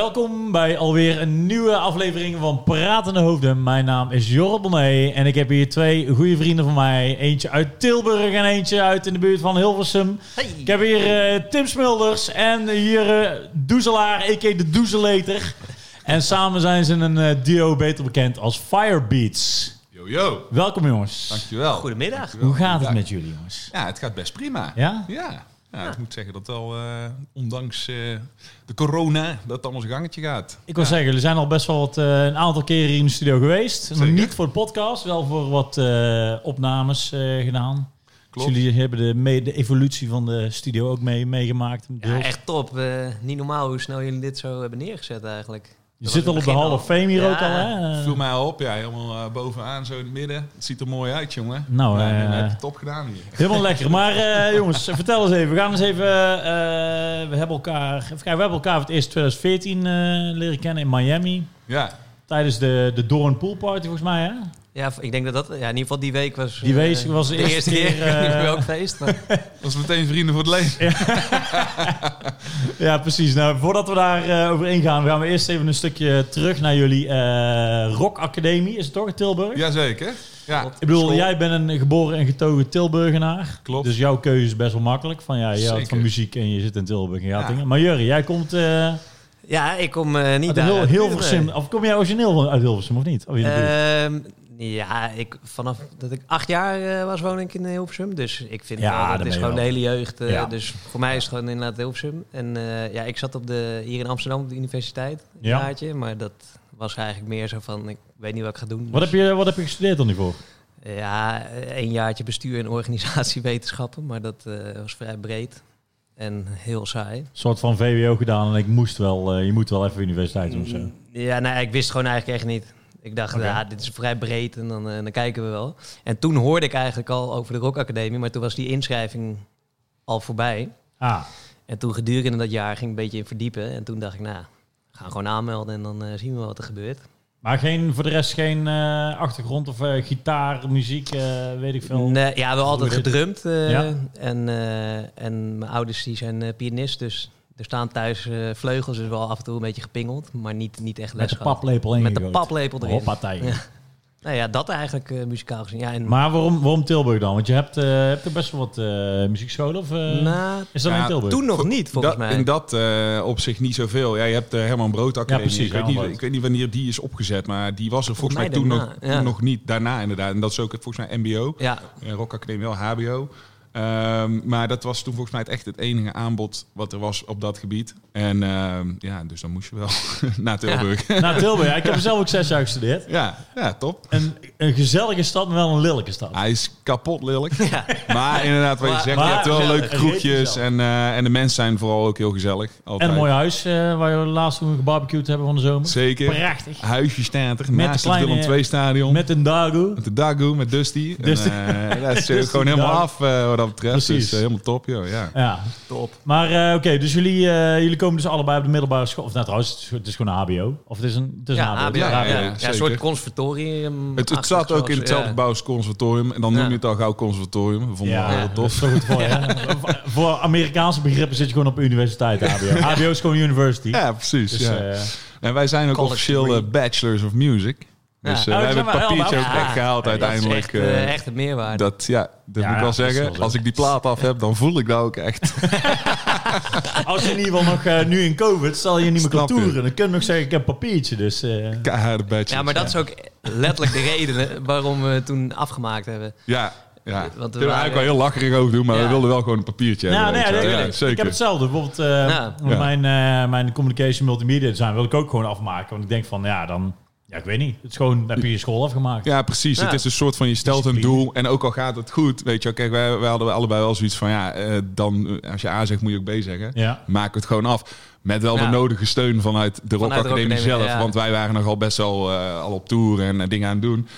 Welkom bij alweer een nieuwe aflevering van Pratende Hoofden. Mijn naam is Jorrit Bonnet en ik heb hier twee goede vrienden van mij. Eentje uit Tilburg en eentje uit in de buurt van Hilversum. Ik heb hier eh, Tim Smulders en hier eh Doezelaar, a.k.a. de Doezeleter. En samen zijn ze een eh, duo beter bekend als Firebeats. Yo, yo. Welkom jongens. Dankjewel. Goedemiddag. Dankjewel. Hoe gaat het Dank- met jullie jongens? Ja, het gaat best prima. Ja? Ja. Ja, ik moet zeggen dat al, eh, ondanks eh, de corona, dat het allemaal zijn gangetje gaat. Ik wil zeggen, jullie zijn al best wel wat, eh, een aantal keren hier in de studio geweest. Nog Zeker. niet voor de podcast, wel voor wat eh, opnames eh, gedaan. Klopt. Dus jullie hebben de, mee, de evolutie van de studio ook mee, meegemaakt. Ja, deels. echt top. Eh, niet normaal hoe snel jullie dit zo hebben neergezet eigenlijk. Je zit al op de Hall of Fame hier Ja. ook al, hè? Vul mij al op, ja, helemaal eh, bovenaan, zo in het midden. Het ziet er mooi uit, jongen. Nou, ja, eh, dan heb je het top gedaan hier. Helemaal lekker. Maar eh, jongens, vertel eens even. We gaan eens even... eh, we, hebben elkaar, even kijken, we hebben elkaar voor het eerst 2014 eh, leren kennen in Miami. Ja, Tijdens de, de Doorn Pool Party, volgens mij, hè? Ja, ik denk dat dat... Ja, in ieder geval die week was... Die eh, week was de eerste keer, Ik weet niet eh, welk feest. Maar, dat was meteen vrienden voor het leven. Ja, precies. Nou, voordat we daar eh, over ingaan, gaan we eerst even een stukje terug naar jullie eh Rock Academie, is het toch, in Tilburg? Jazeker. Ja, Ik bedoel, School. jij bent een geboren en getogen Tilburgenaar. Klopt. Dus jouw keuze is best wel makkelijk. Van ja, je houdt Zeker. van muziek en je zit in Tilburg en je gaat Ja. dingen. Maar Jurri, jij komt eh uit ja, ik kom eh, niet daar. heel, uit. Hilversum. Nee. Of kom jij origineel van- uit Hilversum of niet? Of in de buurt? Ehm, ja, ik, vanaf dat ik acht jaar eh, was, woon ik in Hilversum. Dus ik vind Ja, wel, dan dat ben is je gewoon de wel. hele jeugd. eh, Ja. Dus voor mij is het gewoon inderdaad Hilversum. En eh, ja, ik zat op de, hier in Amsterdam op de universiteit. Een Ja. jaartje. Maar dat was eigenlijk meer zo van, ik weet niet wat ik ga doen. Dus, eh, wat, heb je, wat heb je gestudeerd dan hiervoor? Ja, een jaartje bestuur en organisatiewetenschappen, maar dat eh, was vrij breed en heel saai. Een soort van VWO gedaan en ik moest wel, eh, je moet wel even universiteit doen of zo. Ja, nee, ik wist gewoon eigenlijk echt niet. Ik dacht, Oké. ja, dit is vrij breed en dan, eh, dan kijken we wel. En toen hoorde ik eigenlijk al over de Rock Academie, maar toen was die inschrijving al voorbij. Ah, En toen gedurende dat jaar ging ik een beetje in verdiepen. En toen dacht ik, nou, we gaan gewoon aanmelden en dan eh, zien we wel wat er gebeurt. maar geen, voor de rest geen eh, achtergrond of eh, gitaar, muziek, eh, weet ik veel. Nee, ja, we altijd Hoe is gedrumd. eh, Ja. en, eh, en mijn ouders die zijn eh, pianist, dus er staan thuis eh, vleugels, dus wel af en toe een beetje gepingeld, maar niet, niet echt les Met de gehad. paplepel in Met de paplepel erin. Hoppatij. Ja. Nou ja, dat eigenlijk eh, muzikaal gezien. Ja, en, Maar waarom, waarom Tilburg dan? Want je hebt, eh, hebt er best wel wat eh, muziekscholen. Of, eh, nou, is dat Ja, in Tilburg? toen nog niet, volgens Dat, mij. in dat eh, opzicht niet zoveel. Ja, je hebt eh, de Herman Brood Academie. Ja, precies, ik, weet Herman niet, Brood. ik weet niet wanneer die is opgezet, maar die was er volgens mij Volgens toen mij nog, daarna, ja. toen nog niet. Daarna inderdaad. En dat is ook volgens mij MBO. Ja, Eh, Rock Academie wel HBO. Ehm, maar dat was toen volgens mij het echt het enige aanbod wat er was op dat gebied. En ehm, ja, dus dan moest je wel naar Tilburg. Ja, Naar Nou, Tilburg. ja. Ik heb er zelf ook zes jaar gestudeerd. ja, top. Een, een gezellige stad, maar wel een lelijke stad. Hij is kapot lelijk. Ja. Maar inderdaad, wat je Maar- zegt, maar je hebt wel gezellig. leuke Het is kroegjes. gezellig. En, eh, en de mensen zijn vooral ook heel gezellig. en Altijd. een mooi huis eh, waar we laatst toen gebarbecued hebben van de zomer. Zeker. Prachtig. Huisje staat er de naast kleine- het Willem II stadion. Met Met een dagu. de Dagoe, met Dusty. Dusty. En, eh, dat is eh, Dusty gewoon helemaal Dagoe. af eh, wat dat betreft. Precies. Dus eh, helemaal top, joh. Ja. Ja. top. Maar eh, oké, dus jullie, eh, jullie komen dus allebei op de middelbare school. Of nou trouwens, het is, het is gewoon een HBO. Of het is een, het is Ja, een HBO. ABO, Ja, ja, ja, ja, Ja, een zeker. soort conservatorium. Het, het zat ook in hetzelfde gebouw als conservatorium. En dan noem Ja. je het al gauw conservatorium. We vonden Ja, het wel heel dat tof. is toch goed voor je. hè? Voor- Voor Amerikaanse begrippen zit je gewoon op universiteit, HBO. HBO is gewoon university. Ja, precies. Dus, ja. eh, en wij zijn ook College officieel degree. eh, bachelors of music. Ja. Dus eh, Oh, wij dat hebben het zijn we papiertje ook allemaal. echt gehaald uiteindelijk. Dat is echt, eh, eh, echt een meerwaarde. dat ja, Ja, dat moet ik wel dat is wel zeggen. zo. Als ik die plaat af heb, dan voel ik dat ook echt. Als je in ieder geval nog eh, nu in COVID, stel je niet meer kan Snap je. toeren. Dan kun je nog zeggen, ik heb een papiertje. Dus, eh, Keiharde bachelors. ja, maar dat is ook letterlijk de reden eh, waarom we het toen afgemaakt hebben. Ja, ja. Want we Dat we eigenlijk waren- wel heel lacherig ook doen, maar Ja. we wilden wel gewoon een papiertje nou, hebben. nee, weet je wel. nee, ja, ik, ik heb zeker. hetzelfde. Bijvoorbeeld eh, Ja. met Ja. mijn, eh, mijn communication multimedia design wil ik ook gewoon afmaken. Want ik denk van, ja, dan... Ja, ik weet niet. Het is gewoon, dan heb je je school afgemaakt. Ja, precies. Ja. Het is een soort van, je stelt een Discipline. doel en ook al gaat het goed, weet je wel. Kijk, wij, wij hadden allebei wel zoiets van, ja, eh, dan eh, als je A zegt, moet je ook B zeggen. Ja. Maak het gewoon af. Met wel Ja. de nodige steun vanuit de Rock Rock Academie Academie, zelf. ja. Want wij waren nogal best wel eh, al op tour en eh, dingen aan het doen.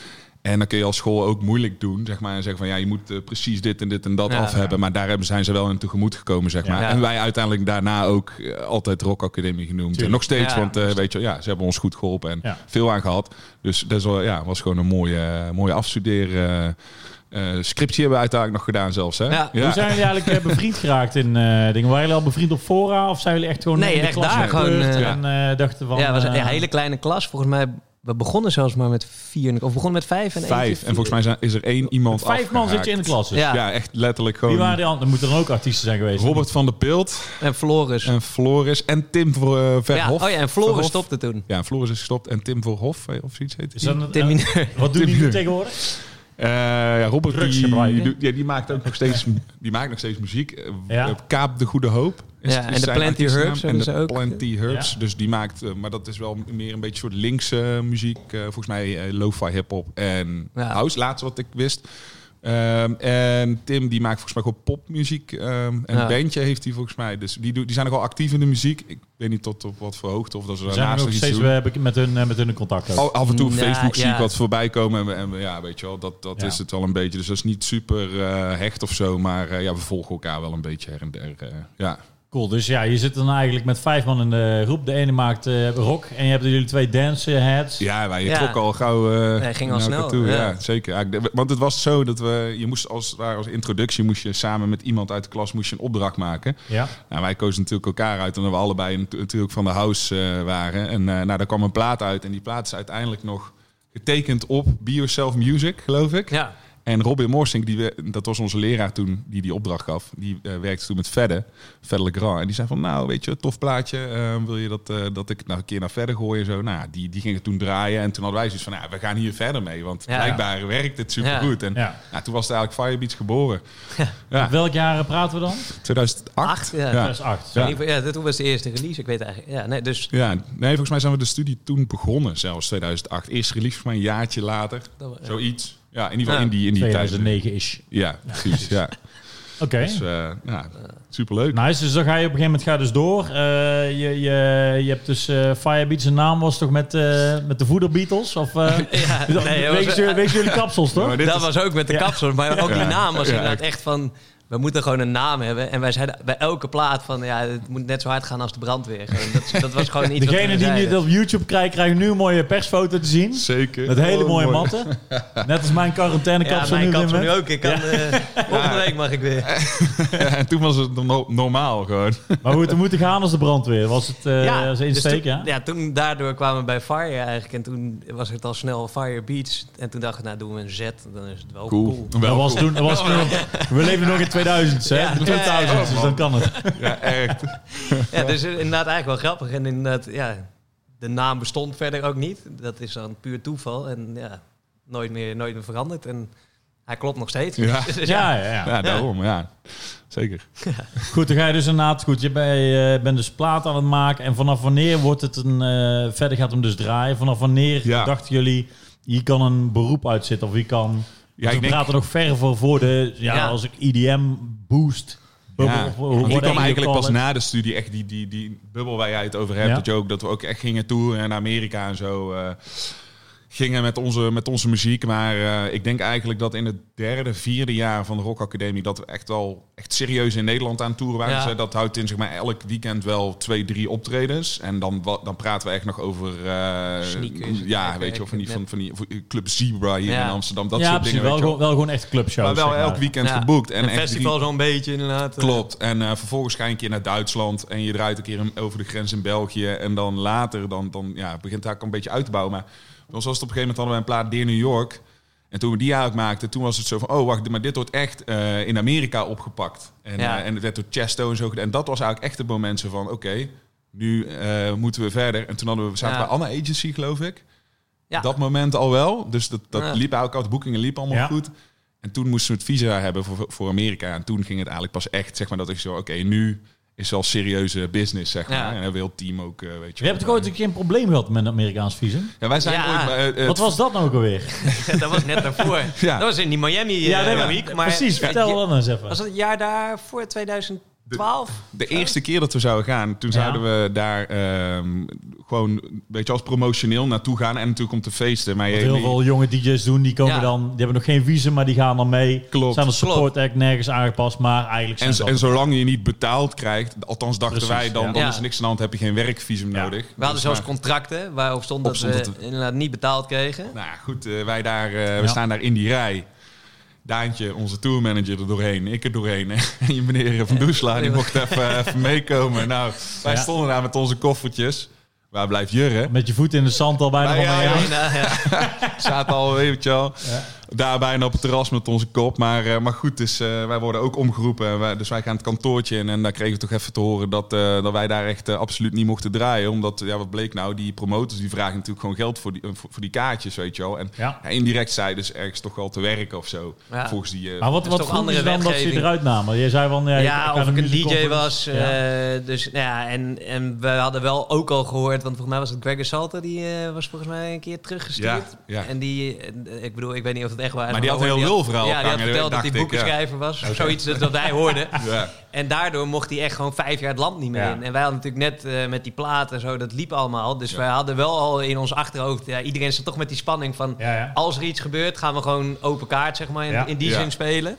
En dan kun je als school ook moeilijk doen, zeg maar. En zeggen van, ja, je moet eh, precies dit en dit en dat Ja. af hebben. Maar daar hebben- zijn ze wel in tegemoet gekomen, zeg Ja. maar. Ja. En wij uiteindelijk daarna ook eh, altijd Rock Academie genoemd. Tuurlijk. En nog steeds, Ja. want eh, weet je, wel, ja, ze hebben ons goed geholpen en Ja. veel aan gehad. Dus dat is wel- ja, was gewoon een mooie, mooie afstudeer. eh, Eh, scriptje hebben we uiteindelijk nog gedaan zelfs, hè? Ja. Hoe zijn jullie eigenlijk eh, bevriend geraakt in eh dingen? Waren jullie al bevriend op fora? Of zijn jullie echt gewoon Nee, in de echt klas daar, gebeurd gewoon, eh, en eh, dachten van... ja, het was een eh, hele kleine klas. Volgens mij, we begonnen zelfs maar met vier. Of we begonnen met vijf. En eentje Vijf. En vier. volgens mij zijn, is er één iemand Vijf man zit je in de afgehaakt. klas dus. Ja. Ja, echt letterlijk gewoon... Wie waren die anderen? Er moeten dan ook artiesten zijn geweest. Robert van der Pilt En Floris. en Floris en Tim voor, eh, ja, Verhof. oh ja, en Floris Verhof. stopte toen. Ja, en Floris is gestopt en Tim Verhof eh, of zoiets heet Is hij. dat een- Tim eh, Mineur. wat doen Tim die nu Mineur. tegenwoordig? Eh, ja, Robert Drugs die, gebruiken. doet- ja, die maakt ook nog steeds, die maakt nog steeds muziek. Eh, Ja. eh, Kaap de Goede Hoop. Ja, en de zijn Plenty artiestennaam. Herbs En hebben de ze ook. Plenty Herbs. Ja. Dus die maakt, eh, maar dat is wel meer een beetje soort linkse muziek. eh, volgens mij eh, lo-fi hip-hop en Ja. house, laatste wat ik wist. Ehm, en Tim die maakt volgens mij gewoon popmuziek. ehm, en Ja. een bandje heeft hij volgens mij. Dus die, doet- die zijn nogal actief in de muziek. Ik weet niet tot op wat voor hoogte of dat ze We zijn daarnaast nog nog iets steeds doen. Oh. eh, bek- met hun, eh, met hun in contact ook. Al- af en toe op Nou, Facebook zie ja. ik wat voorbij komen. En, we- en we- ja, weet je wel, dat, dat Ja. is het wel een beetje. Dus dat is niet super eh, hecht of zo. Maar eh, ja, we volgen elkaar wel een beetje her en der. eh, ja. Cool, dus ja, je zit dan eigenlijk met vijf man in de groep. De ene maakt eh, rock en je hebt jullie twee dance eh, heads. ja, wij Ja. trokken al gauw. eh, Nee, ging al naar snel, elkaar Toe. Ja. ja. zeker. Ja, ik d- want het was zo dat we. Je moest als, het ware als introductie moest je samen met iemand uit de klas moest je een opdracht maken. Ja. Nou, wij kozen natuurlijk elkaar uit omdat we allebei nat- natuurlijk van de house eh, waren. En eh, nou, daar kwam een plaat uit. En die plaat is uiteindelijk nog getekend op Be Yourself Music, geloof ik. Ja, En Robin Morsink, die we, dat was onze leraar toen die die opdracht gaf. Die eh, werkte toen met Fedde, Fedde Legrand. En die zei van, nou weet je, tof plaatje. eh, wil je dat, eh, dat ik het nou een keer naar verder gooi en zo? Nou, ja, die, die ging het toen draaien. En toen hadden wij zoiets van, nou, we gaan hier verder mee. Want Ja. blijkbaar werkt het supergoed. En Ja. nou, toen was het eigenlijk Firebeats geboren. Ja, Op welk jaar eh, praten we dan? 2008. Acht, ja. Dat is acht. Ja. ja. ja dat toen was de eerste release. Ik weet eigenlijk. Ja, nee, dus Ja, nee, volgens mij zijn we de studie toen begonnen, zelfs 2008. Eerst release volgens mij een jaartje later, Dat we- zoiets. Ja, in ieder geval Ja. in die, in die tijd. 2009 is. Ja, precies, ja. Oké. Dus, eh ja, superleuk. Nice, dus dan ga je op een gegeven moment ga je dus door. Eh, je, je, je hebt dus eh Firebeats, zijn naam was toch met, eh, met de voederbeatles? Of, eh Ja, dus- nee, dat wegens, was- jullie- wegens jullie kapsels, toch? Ja, maar dit dat is- was ook met de Ja. kapsel. Maar ook Ja. die naam was Ja, inderdaad echt. echt van... We moeten gewoon een naam hebben. En wij zeiden bij elke plaat van... Ja, het moet net zo hard gaan als de brandweer. Gewoon, Dat, dat was gewoon iets Degene wat die we dit zeiden. op YouTube krijgt, krijgen nu een mooie persfoto te zien. Zeker. Met hele Oh, mooie mooi. matten. Net als mijn Ja, quarantainekapsel mijn nu. kapsel Wim, nu hè? ook. Ik kan, eh, volgende week mag ik weer. Ja, en toen was het no- normaal gewoon. Maar hoe het er moeten gaan als de brandweer. Was het eh als dus insteek, toen, ja? ja, toen daardoor kwamen we bij Fire eigenlijk. En toen was het al snel Fire Beach. En toen dachten we, nou doen we een Z. Dan is het wel cool. Dat Wel was cool. toen, dat was toen- we leven nog in 2000, hè? Ja. 2000, Ja, ja, dus ja. dan kan het. Ja, echt. Ja, dus inderdaad eigenlijk wel grappig. En inderdaad, ja, de naam bestond verder ook niet. Dat is dan puur toeval. En ja, nooit meer, nooit meer veranderd. En hij klopt nog steeds. Ja. Dus Ja, ja, ja. Ja, daarom, ja. Zeker. Goed, dan ga je dus inderdaad goed. Je bent, eh, bent dus plaat aan het maken. En vanaf wanneer wordt het een. eh, verder gaat hem dus draaien. Vanaf wanneer Ja. dachten jullie. Je kan een beroep uitzitten of je kan. Ja, we ik denk, praten nog ver voor, voor de. Ja, Ja. als ik IDM boost. ja, bubble, hoe- hoe- ik whatever kwam je eigenlijk call pas it. na de studie echt die, die, die bubbel waar jij het over hebt. Ja. Dat, je ook, dat we ook echt gingen toeren naar Amerika en zo. eh, gingen met onze, met onze muziek. Maar eh, ik denk eigenlijk dat in het derde, vierde jaar van de Rock Academie... dat we echt wel echt serieus in Nederland aan het toeren waren. Ja. Dus, eh, dat houdt in zeg maar elk weekend wel twee, drie optredens. En dan, wa- dan praten we echt nog over... eh, Sneakers. Ja, Kijk, weet je wel, van die, met- van, van die van die Club Zebra hier Ja. in Amsterdam. Dat ja, soort precies. dingen. Wel, weet je gewoon, wel. wel gewoon echt clubshows. maar wel zeg maar. elk weekend Ja. geboekt. En een echt drie- festival zo'n beetje inderdaad. Klopt. En eh, vervolgens ga je een keer naar Duitsland en je draait een keer een- over de grens in België. En dan later, dan, dan ja, begint daar ook een beetje uit te bouwen. Maar bij ons was het op een gegeven moment hadden we een plaat Dear New York. En toen we die uitmaakten, toen was het zo van... oh, wacht, maar dit wordt echt eh, in Amerika opgepakt. En, Ja. eh, en het werd door Chesto en zo gedaan. En dat was eigenlijk echt het moment zo van, oké, nu eh, moeten we verder. En toen hadden we, zaten Ja. bij Anna Agency, geloof ik. Ja. Dat moment al wel. Dus dat, dat Ja. liep eigenlijk al, de boekingen liepen allemaal Ja. goed. En toen moesten we het visa hebben voor, voor Amerika. En toen ging het eigenlijk pas echt, zeg maar, dat ik zo... Oké, nu is wel serieuze business, zeg maar. Ja. En hebben we heel team ook, eh, weet Je je hebt toch wel. ooit een keer een probleem gehad met een Amerikaans visum? Ja, wij zijn Ja. ooit... bij, eh, eh, Wat het- was dat nou ook alweer? dat was net daarvoor. Ja. Dat was in die Miami eh, nee, maar- week. Maar precies, vertel Ja, dan eens even. Was dat het jaar daarvoor, 2012? De eerste keer dat we zouden gaan, toen Ja. zouden we daar ehm, gewoon, weet je, als promotioneel naartoe gaan. En natuurlijk om te feesten. Maar je, Want heel veel jonge DJ's doen, die komen Ja. dan, die hebben nog geen visum, maar die gaan dan mee. Klopt. Zijn de support act nergens aangepast, maar eigenlijk zijn En, ze en zolang je niet betaald krijgt, althans dachten Precies, wij dan, ja. dan Ja. is er niks aan de hand, heb je geen werkvisum Ja. nodig. We hadden Dus, zelfs maar- contracten waarop stond Op dat stond we dat- inderdaad niet betaald kregen. Nou ja, goed, eh, wij daar, eh, we Ja. staan daar in die rij. Daantje, onze tourmanager, er doorheen. Ik er doorheen. En je meneer Van Doesla, die mocht even, eh, even meekomen. Nou, wij Ja. stonden daar met onze koffertjes. Waar blijft Jurre? Met je voet in de zand al bijna Nou van ja, mij ja. aan. Nou, ja. zaten al, weet je wel. Daar bijna op het terras met onze kop. Maar, eh, maar goed, dus, eh, wij worden ook omgeroepen. En wij- dus wij gaan het kantoortje in. En daar kregen we toch even te horen dat, eh, dat wij daar echt eh, absoluut niet mochten draaien. Omdat, ja, wat bleek nou? Die promotors die vragen natuurlijk gewoon geld voor die, eh, voor, voor die kaartjes, weet je wel. En Ja. ja, indirect zij dus ergens toch wel te werken of zo. Ja. Volgens die... eh, Maar wat, is wat toch vroeg andere je dan dat ze je wetgeving. eruit namen? Je zei van... Ja, ik- ik Ja, ga of de ik een music DJ conference. was. Ja. eh, dus nou ja, en, en we hadden wel ook al gehoord, want volgens mij was het Gregor Salter, die eh, was volgens mij een keer teruggestuurd. Ja, ja. En die, eh, ik bedoel, ik weet niet of het echt waar is. Maar die had we een heel hoorden- lulverhaal Ja, die had opgehangen, verteld dat dacht hij ik, ja. Oh, boekenschrijver was. of Zoiets dat, dat wij hoorden. ja. En daardoor mocht hij echt gewoon vijf jaar het land niet meer Ja. in. En wij hadden natuurlijk net eh, met die platen zo, dat liep allemaal. Dus Ja. wij hadden wel al in ons achterhoofd, ja, iedereen zat toch met die spanning van... Ja, ja. als er iets gebeurt, gaan we gewoon open kaart, zeg maar, in, Ja. in die Ja. zin spelen.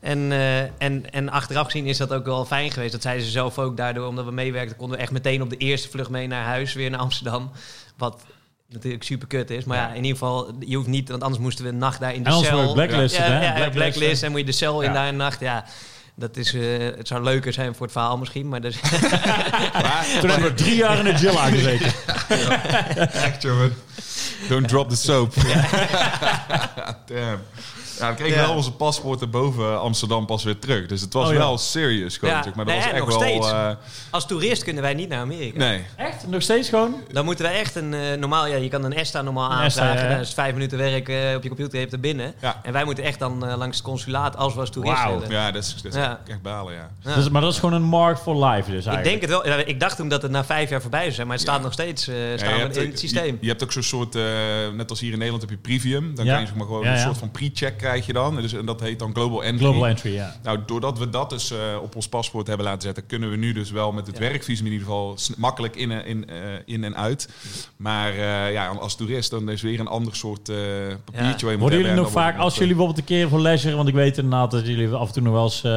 En, eh, en, en achteraf gezien is dat ook wel fijn geweest. Dat zeiden ze zelf ook daardoor, omdat we meewerkten, konden we echt meteen op de eerste vlucht mee naar huis, weer naar Amsterdam. Wat natuurlijk super kut is. Maar ja, Ja. in ieder geval, je hoeft niet, want anders moesten we een nacht daar in de En anders cel. word je blacklisted, hè? ja, ja, ja, Blacklisted. blacklist en moet je de cel Ja. in daar een nacht. Ja, dat is, eh, het zou leuker zijn voor het verhaal misschien, maar dus- dat is Maar, Toen hebben we drie jaar in de Jilla gezeten. echt, jongen. Don't drop the soap. Damn. Ja, we kregen Ja. wel onze paspoorten boven Amsterdam pas weer terug. Dus het was Oh, ja. wel serious gewoon. Ja, natuurlijk. Maar dat nee, was en echt nog wel... steeds. eh, Als toerist kunnen wij niet naar Amerika. nee. Echt? Nog steeds gewoon? Dan moeten wij echt een... eh, normaal, ja, je kan een ESTA normaal Een ESTA, aanvragen. ja, ja. Dat is vijf minuten werk eh, op je computer, je hebt er binnen. Ja. En wij moeten echt dan eh, langs het consulaat als we als toerist Wauw. willen. Ja, dat is, dat is Ja. echt balen, ja. Ja. Dus, maar dat is gewoon een mark for life dus Ik eigenlijk. denk het wel. Ja, Ik dacht toen dat het na vijf jaar voorbij zou zijn, maar het staat nog steeds eh, Ja, staan je we hebt- in het systeem. Je, je hebt ook zo'n soort, eh, net als hier in Nederland heb je Privium. Dan Ja. kan je zeg maar gewoon Ja, een ja. soort van pre-check krijg je dan. Dus, en dat heet dan Global Entry. Global entry, ja. Nou, doordat we dat dus eh, op ons paspoort hebben laten zetten, kunnen we nu dus wel met het werkvisum in ieder geval sn- makkelijk in, en- in, eh, in en uit. Maar eh, ja, als toerist dan is weer een ander soort eh, papiertje. waar je moet Worden jullie hebben. nog En dan wordt vaak, het als nog, jullie bijvoorbeeld een keer voor leisure, want ik weet inderdaad dat jullie af en toe nog wel eens eh,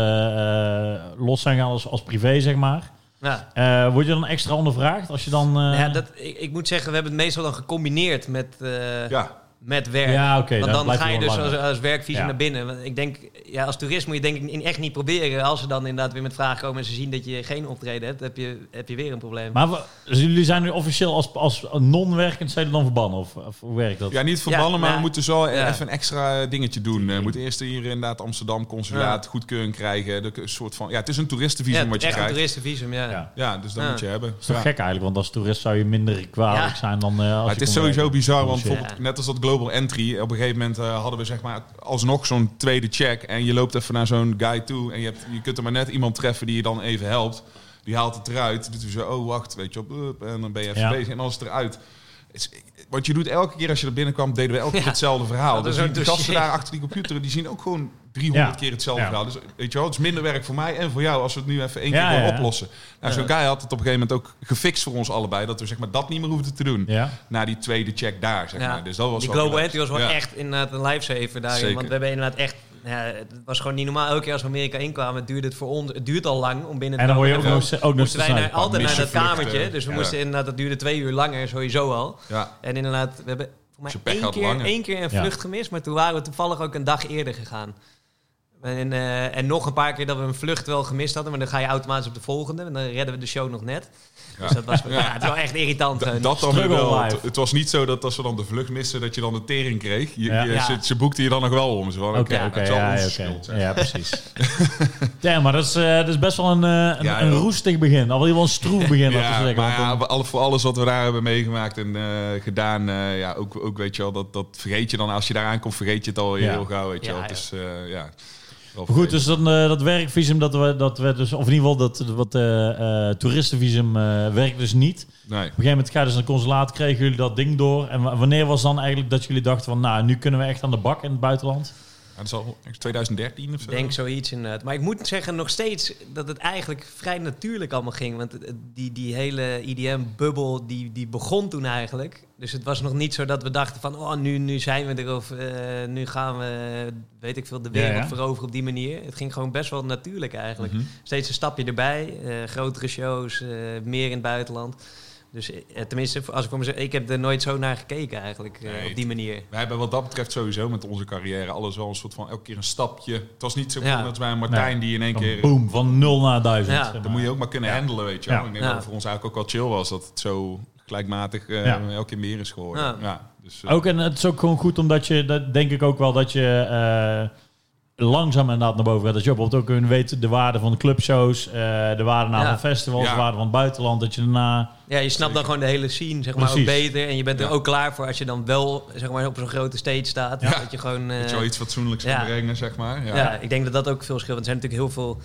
eh, los zijn gaan als, als privé, zeg maar. Ja. Eh, word je dan extra ondervraagd als je dan... eh, Ja, dat, ik, ik moet zeggen, we hebben het meestal dan gecombineerd met, eh, eh, Ja, met werk. Ja, oké. Want dan blijft ga je het wel dus als, langer. als werkvisum Ja. naar binnen. Want ik denk, ja, als toerist moet je denk ik in- echt niet proberen. Als ze dan inderdaad weer met vragen komen en ze zien dat je geen optreden hebt, heb je, heb je weer een probleem. Maar we- dus jullie zijn nu officieel als, als non-werkend, zijn jullie dan verbannen? Of, of hoe werkt dat? ja, niet verbannen, Ja, maar nou, we moeten zo ja. even een extra eh, dingetje doen. Eh, We moeten eerst hier inderdaad Amsterdam consulaat goedkeuring krijgen. Dat- Een soort van, ja, het is een toeristenvisum ja, wat je echt een krijgt. toeristenvisum, ja. Ja. ja. Ja, dus dat Ja. moet je hebben. Dat is toch Ja. gek eigenlijk, want als toerist zou je minder kwalijk Ja. zijn dan eh, als Maar je het is kon sowieso werken. Dus, bizar, want Bullshit. bijvoorbeeld Ja. net als dat Global Entry, op een gegeven moment eh, hadden we zeg maar alsnog zo'n tweede check. En je loopt even naar zo'n guy toe en je, hebt, je kunt er maar net iemand treffen die je dan even helpt. Die haalt het eruit. Dus zo, oh wacht, weet je op, up, en dan ben je even Ja. bezig en dan is het eruit. Het is- Want je doet elke keer als je er binnenkwam, deden we elke keer Ja. hetzelfde verhaal. Dat is Dus een die dossier. gasten daar achter die computer, die zien ook gewoon 300 Ja. keer hetzelfde Ja. verhaal. Dus weet je wel, het is minder werk voor mij en voor jou als we het nu even één Ja, keer kunnen ja, ja. oplossen. Nou, zo'n guy had het op een gegeven moment ook gefixt voor ons allebei, dat we zeg maar dat niet meer hoefden te doen Ja. na die tweede check daar, zeg maar. Dus dat was die wel Global Entry relaxed. was wel Ja. echt inderdaad een lifesaver daarin. Zeker. Want we hebben inderdaad echt... Ja, het was gewoon niet normaal. Elke keer als we Amerika inkwamen, het duurde het voor ons... Het duurt al lang om binnen En dan word je ook komen. nog, ook nog moesten te wij snel naar- gepakt. altijd naar dat Missie vluchten. kamertje. Dus we Ja. moesten inderdaad... Dat duurde twee uur langer sowieso al. Ja. En inderdaad, we hebben voor Als je pech mij één had, keer, langer. één keer een Ja. vlucht gemist. Maar toen waren we toevallig ook een dag eerder gegaan. En, eh, en nog een paar keer dat we een vlucht wel gemist hadden. Maar dan ga je automatisch op de volgende. En dan redden we de show nog net. Ja. Dus dat was ja. Ja. het is wel echt irritant. Da- eh, dat dan weer Struggle wel. Het, life. het was niet zo dat als we dan de vlucht missen, dat je dan de tering kreeg. Je, Ja. je- Ja. ze, ze boekte je dan nog wel om. Ze waren, oké, Oké, het oké, zal ja, ons ja, schuld oké. zijn. Ja, precies. ja, maar dat is, eh, dat is best wel een, eh, een, Ja, een joh. roestig begin. Al in ieder geval een stroef begin, laten we Ja, zeggen. maar Want ja, dan- we- alle- voor alles wat we daar hebben meegemaakt en eh, gedaan, eh, ja, ook, ook weet je wel, dat, dat vergeet je dan. Als je daar aankomt, vergeet je het al Ja. heel gauw, weet je Ja, wel. ja. Dus, eh, ja, wel Maar goed, vervelend. dus dan, eh, dat werkvisum, dat we, dat we dus, of in ieder geval dat, wat, eh, eh, toeristenvisum eh, werkt dus niet. Op Nee. een gegeven moment ga je dus naar het consulaat, kregen jullie dat ding door. En wa- wanneer was dan eigenlijk dat jullie dachten van, nou, nu kunnen we echt aan de bak in het buitenland? Ja, dat is al 2013 of zo. Ik denk zoiets inderdaad. Maar ik moet zeggen nog steeds dat het eigenlijk vrij natuurlijk allemaal ging. Want het- het- die, die hele IDM-bubbel die, die begon toen eigenlijk. Dus het was nog niet zo dat we dachten van... oh, nu, nu zijn we er of eh, nu gaan we, weet ik veel, de Ja, wereld ja. veroveren op die manier. Het ging gewoon best wel natuurlijk eigenlijk. Mhm. Steeds een stapje erbij. eh, grotere shows, eh, meer in het buitenland. Dus eh, tenminste, als ik voor mezelf, ik heb er nooit zo naar gekeken eigenlijk, eh, Nee. op die manier. Wij hebben wat dat betreft sowieso met onze carrière alles wel een soort van elke keer een stapje. Het was niet zo Ja. dat als bij een Martijn Nee. die in één Dan keer... Boom, van 0 naar 1000. Ja, zeg maar. Dat moet je ook maar kunnen handelen, weet je wel. Ja. Ik denk Ja. dat het voor ons eigenlijk ook wel chill was dat het zo gelijkmatig eh, Ja. elke keer meer is geworden. Ja. Ja. dus, eh, Ook en het is ook gewoon goed omdat je, dat denk ik ook wel, dat je eh, langzaam inderdaad naar boven gaat. Dat je bijvoorbeeld ook hun weet de waarde van de clubshows, eh, de waarde na Ja. van festivals, Ja. de waarde van het buitenland. Dat je daarna. Ja, je snapt dan gewoon de hele scene, zeg maar, ook Precies. beter. En je bent er Ja. ook klaar voor als je dan wel, zeg maar, op zo'n grote stage staat. Ja. Dat je gewoon... eh, dat je wel iets fatsoenlijks ja. kan brengen, zeg maar. ja. Ja. ik denk dat dat ook veel scheelt. Want er zijn natuurlijk heel veel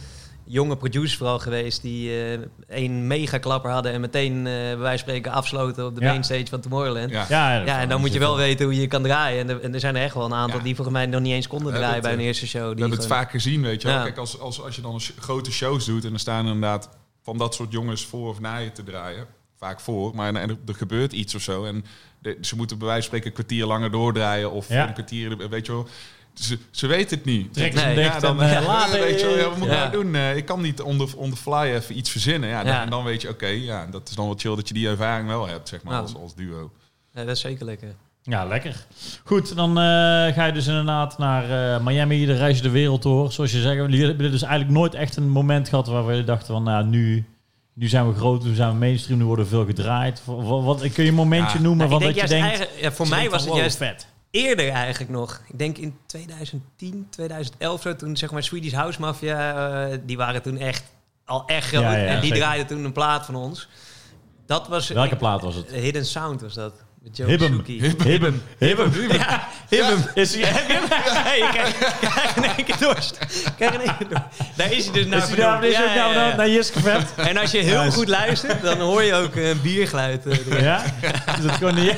jonge producers vooral geweest die eh een mega klapper hadden en meteen eh bij wijze van spreken afsloten op de Ja. mainstage van Tomorrowland. Ja. Ja. Ja, en dan moet je wel weten hoe je kan draaien. En er, en er zijn er echt wel een aantal Ja. die volgens mij nog niet eens konden We draaien hebben bij het, eh, hun eerste show. We die hebben het gewoon- vaak gezien, weet je wel. Ja. Kijk, als, als, als je dan een sh- grote shows doet en er staan inderdaad van dat soort jongens voor of na je te draaien. Vaak voor, maar en er, er gebeurt iets of zo. En de- ze moeten bij wijze van spreken een kwartier langer doordraaien of Ja. een kwartier, weet je wel. Ze, ze weten het niet. Trek Nee. ze dicht Ja, dan en eh, ja, later. weet je wel, ja, wat moet ik Ja. nou doen? Eh, ik kan niet on the, on the fly even iets verzinnen. Ja, dan, Ja. En dan weet je, oké, ja, dat is dan wel chill dat je die ervaring wel hebt, zeg maar, Ja. als, als duo. Ja, dat is zeker lekker. Ja, lekker. Goed, dan eh, ga je dus inderdaad naar eh, Miami, dan reis je de wereld door. Zoals je zegt, jullie hebben dus eigenlijk nooit echt een moment gehad waar we dachten van, nou, nu, nu zijn we groot, nu zijn we mainstream, nu worden we veel gedraaid. Wa- wa- Wat, kun je een momentje Ja. noemen Nou, van ik denk dat je juist denkt, eigen- ja, voor je mij denkt was van, het wow, juist vet. eerder eigenlijk nog. Ik denk in 2010, 2011 zo, toen zeg maar Swedish House Mafia, eh, die waren toen echt al echt groot. Ja, ja, en die zeker. draaiden toen een plaat van ons. Dat was... Welke ik- plaat was het? Hidden Sound was dat. Met Joe Hibbem, Suzuki. hibbem, hibbem. Ja, Hibbem. Is hij, Heb je hem? Nee, ik krijg- ik krijg in één keer dorst. Ik krijg in één keer dorst. Daar is hij dus naar is hij daar, vernoemd. is hij Ja, ja, daar, ja. naar- naar Jiske vet? En als je heel Juist. goed luistert, dan hoor je ook een biergeluid. eh, erin. Ja? Is het gewoon de...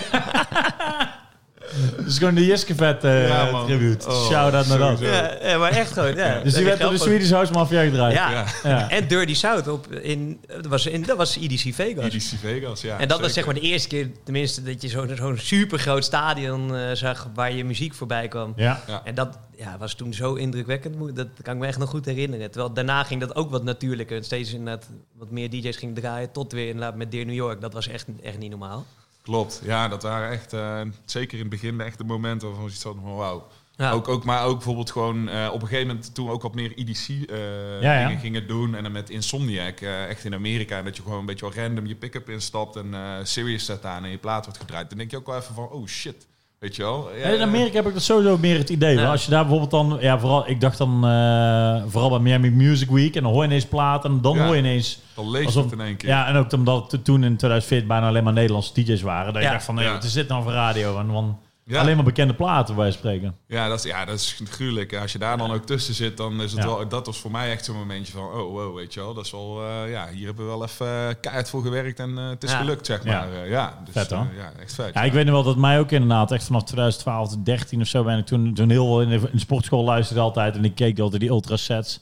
Het is gewoon de Jiske vet eh, Ja, man. tribute. Oh, Shout out naar dat. sowieso. Ja, ja, maar echt gewoon, ja. Dus die werd door de Swedish House Mafia gedraaid. Ja. Ja. Ja. En Dirty South op in, dat was in, dat was EDC Vegas. IDC Vegas, ja. en dat was zeg zeker. maar de eerste keer, tenminste, dat je zo- zo'n supergroot stadion eh, zag waar je muziek voorbij kwam. Ja. Ja. En dat ja, was toen zo indrukwekkend, moet- dat kan ik me echt nog goed herinneren. Terwijl daarna ging dat ook wat natuurlijker. En steeds inderdaad wat meer DJ's ging draaien, tot weer inderdaad met Dear New York. Dat was echt, echt niet normaal. Klopt, ja, dat waren echt, eh, zeker in het begin, echt de momenten waarvan je zat van wauw. Ja. Ook, ook, maar ook bijvoorbeeld gewoon eh, op een gegeven moment toen we ook wat meer IDC eh, Ja, ja. dingen gingen doen. En dan met Insomniac, eh, echt in Amerika. En dat je gewoon een beetje wel random je pick-up instapt en eh Sirius zet aan en je plaat wordt gedraaid. Dan denk je ook wel even van, oh shit, weet je wel. Ja, Ja, in Amerika heb ik dat sowieso meer het idee. Ja. hoor. Als je daar bijvoorbeeld dan, ja, vooral, ik dacht dan eh, vooral bij Miami Music Week en dan hoor je ineens platen en dan Ja. hoor je ineens. Dan lees je alsof- het in één keer. Ja, en ook omdat het toen in 2014 bijna alleen maar Nederlandse DJ's waren. Dat Ja. je dacht van, nee, Ja. wat is dit nou voor radio? En dan Ja. alleen maar bekende platen bij spreken. Ja, dat is, ja, dat is gruwelijk. Als je daar dan ook tussen zit, dan is het Ja. wel... Dat was voor mij echt zo'n momentje van... Oh, wow, weet je wel. Dat is wel... eh, ja, hier hebben we wel even eh, keihard voor gewerkt en eh, het is Ja. gelukt, zeg Ja. maar. Ja, ja dus, Vet, hoor. eh, ja, echt vet. Ja, ik weet nu wel dat mij ook inderdaad echt vanaf 2012, 13 of zo ben ik toen, toen heel veel in de, in de sportschool luisterde altijd en ik keek altijd die ultra sets.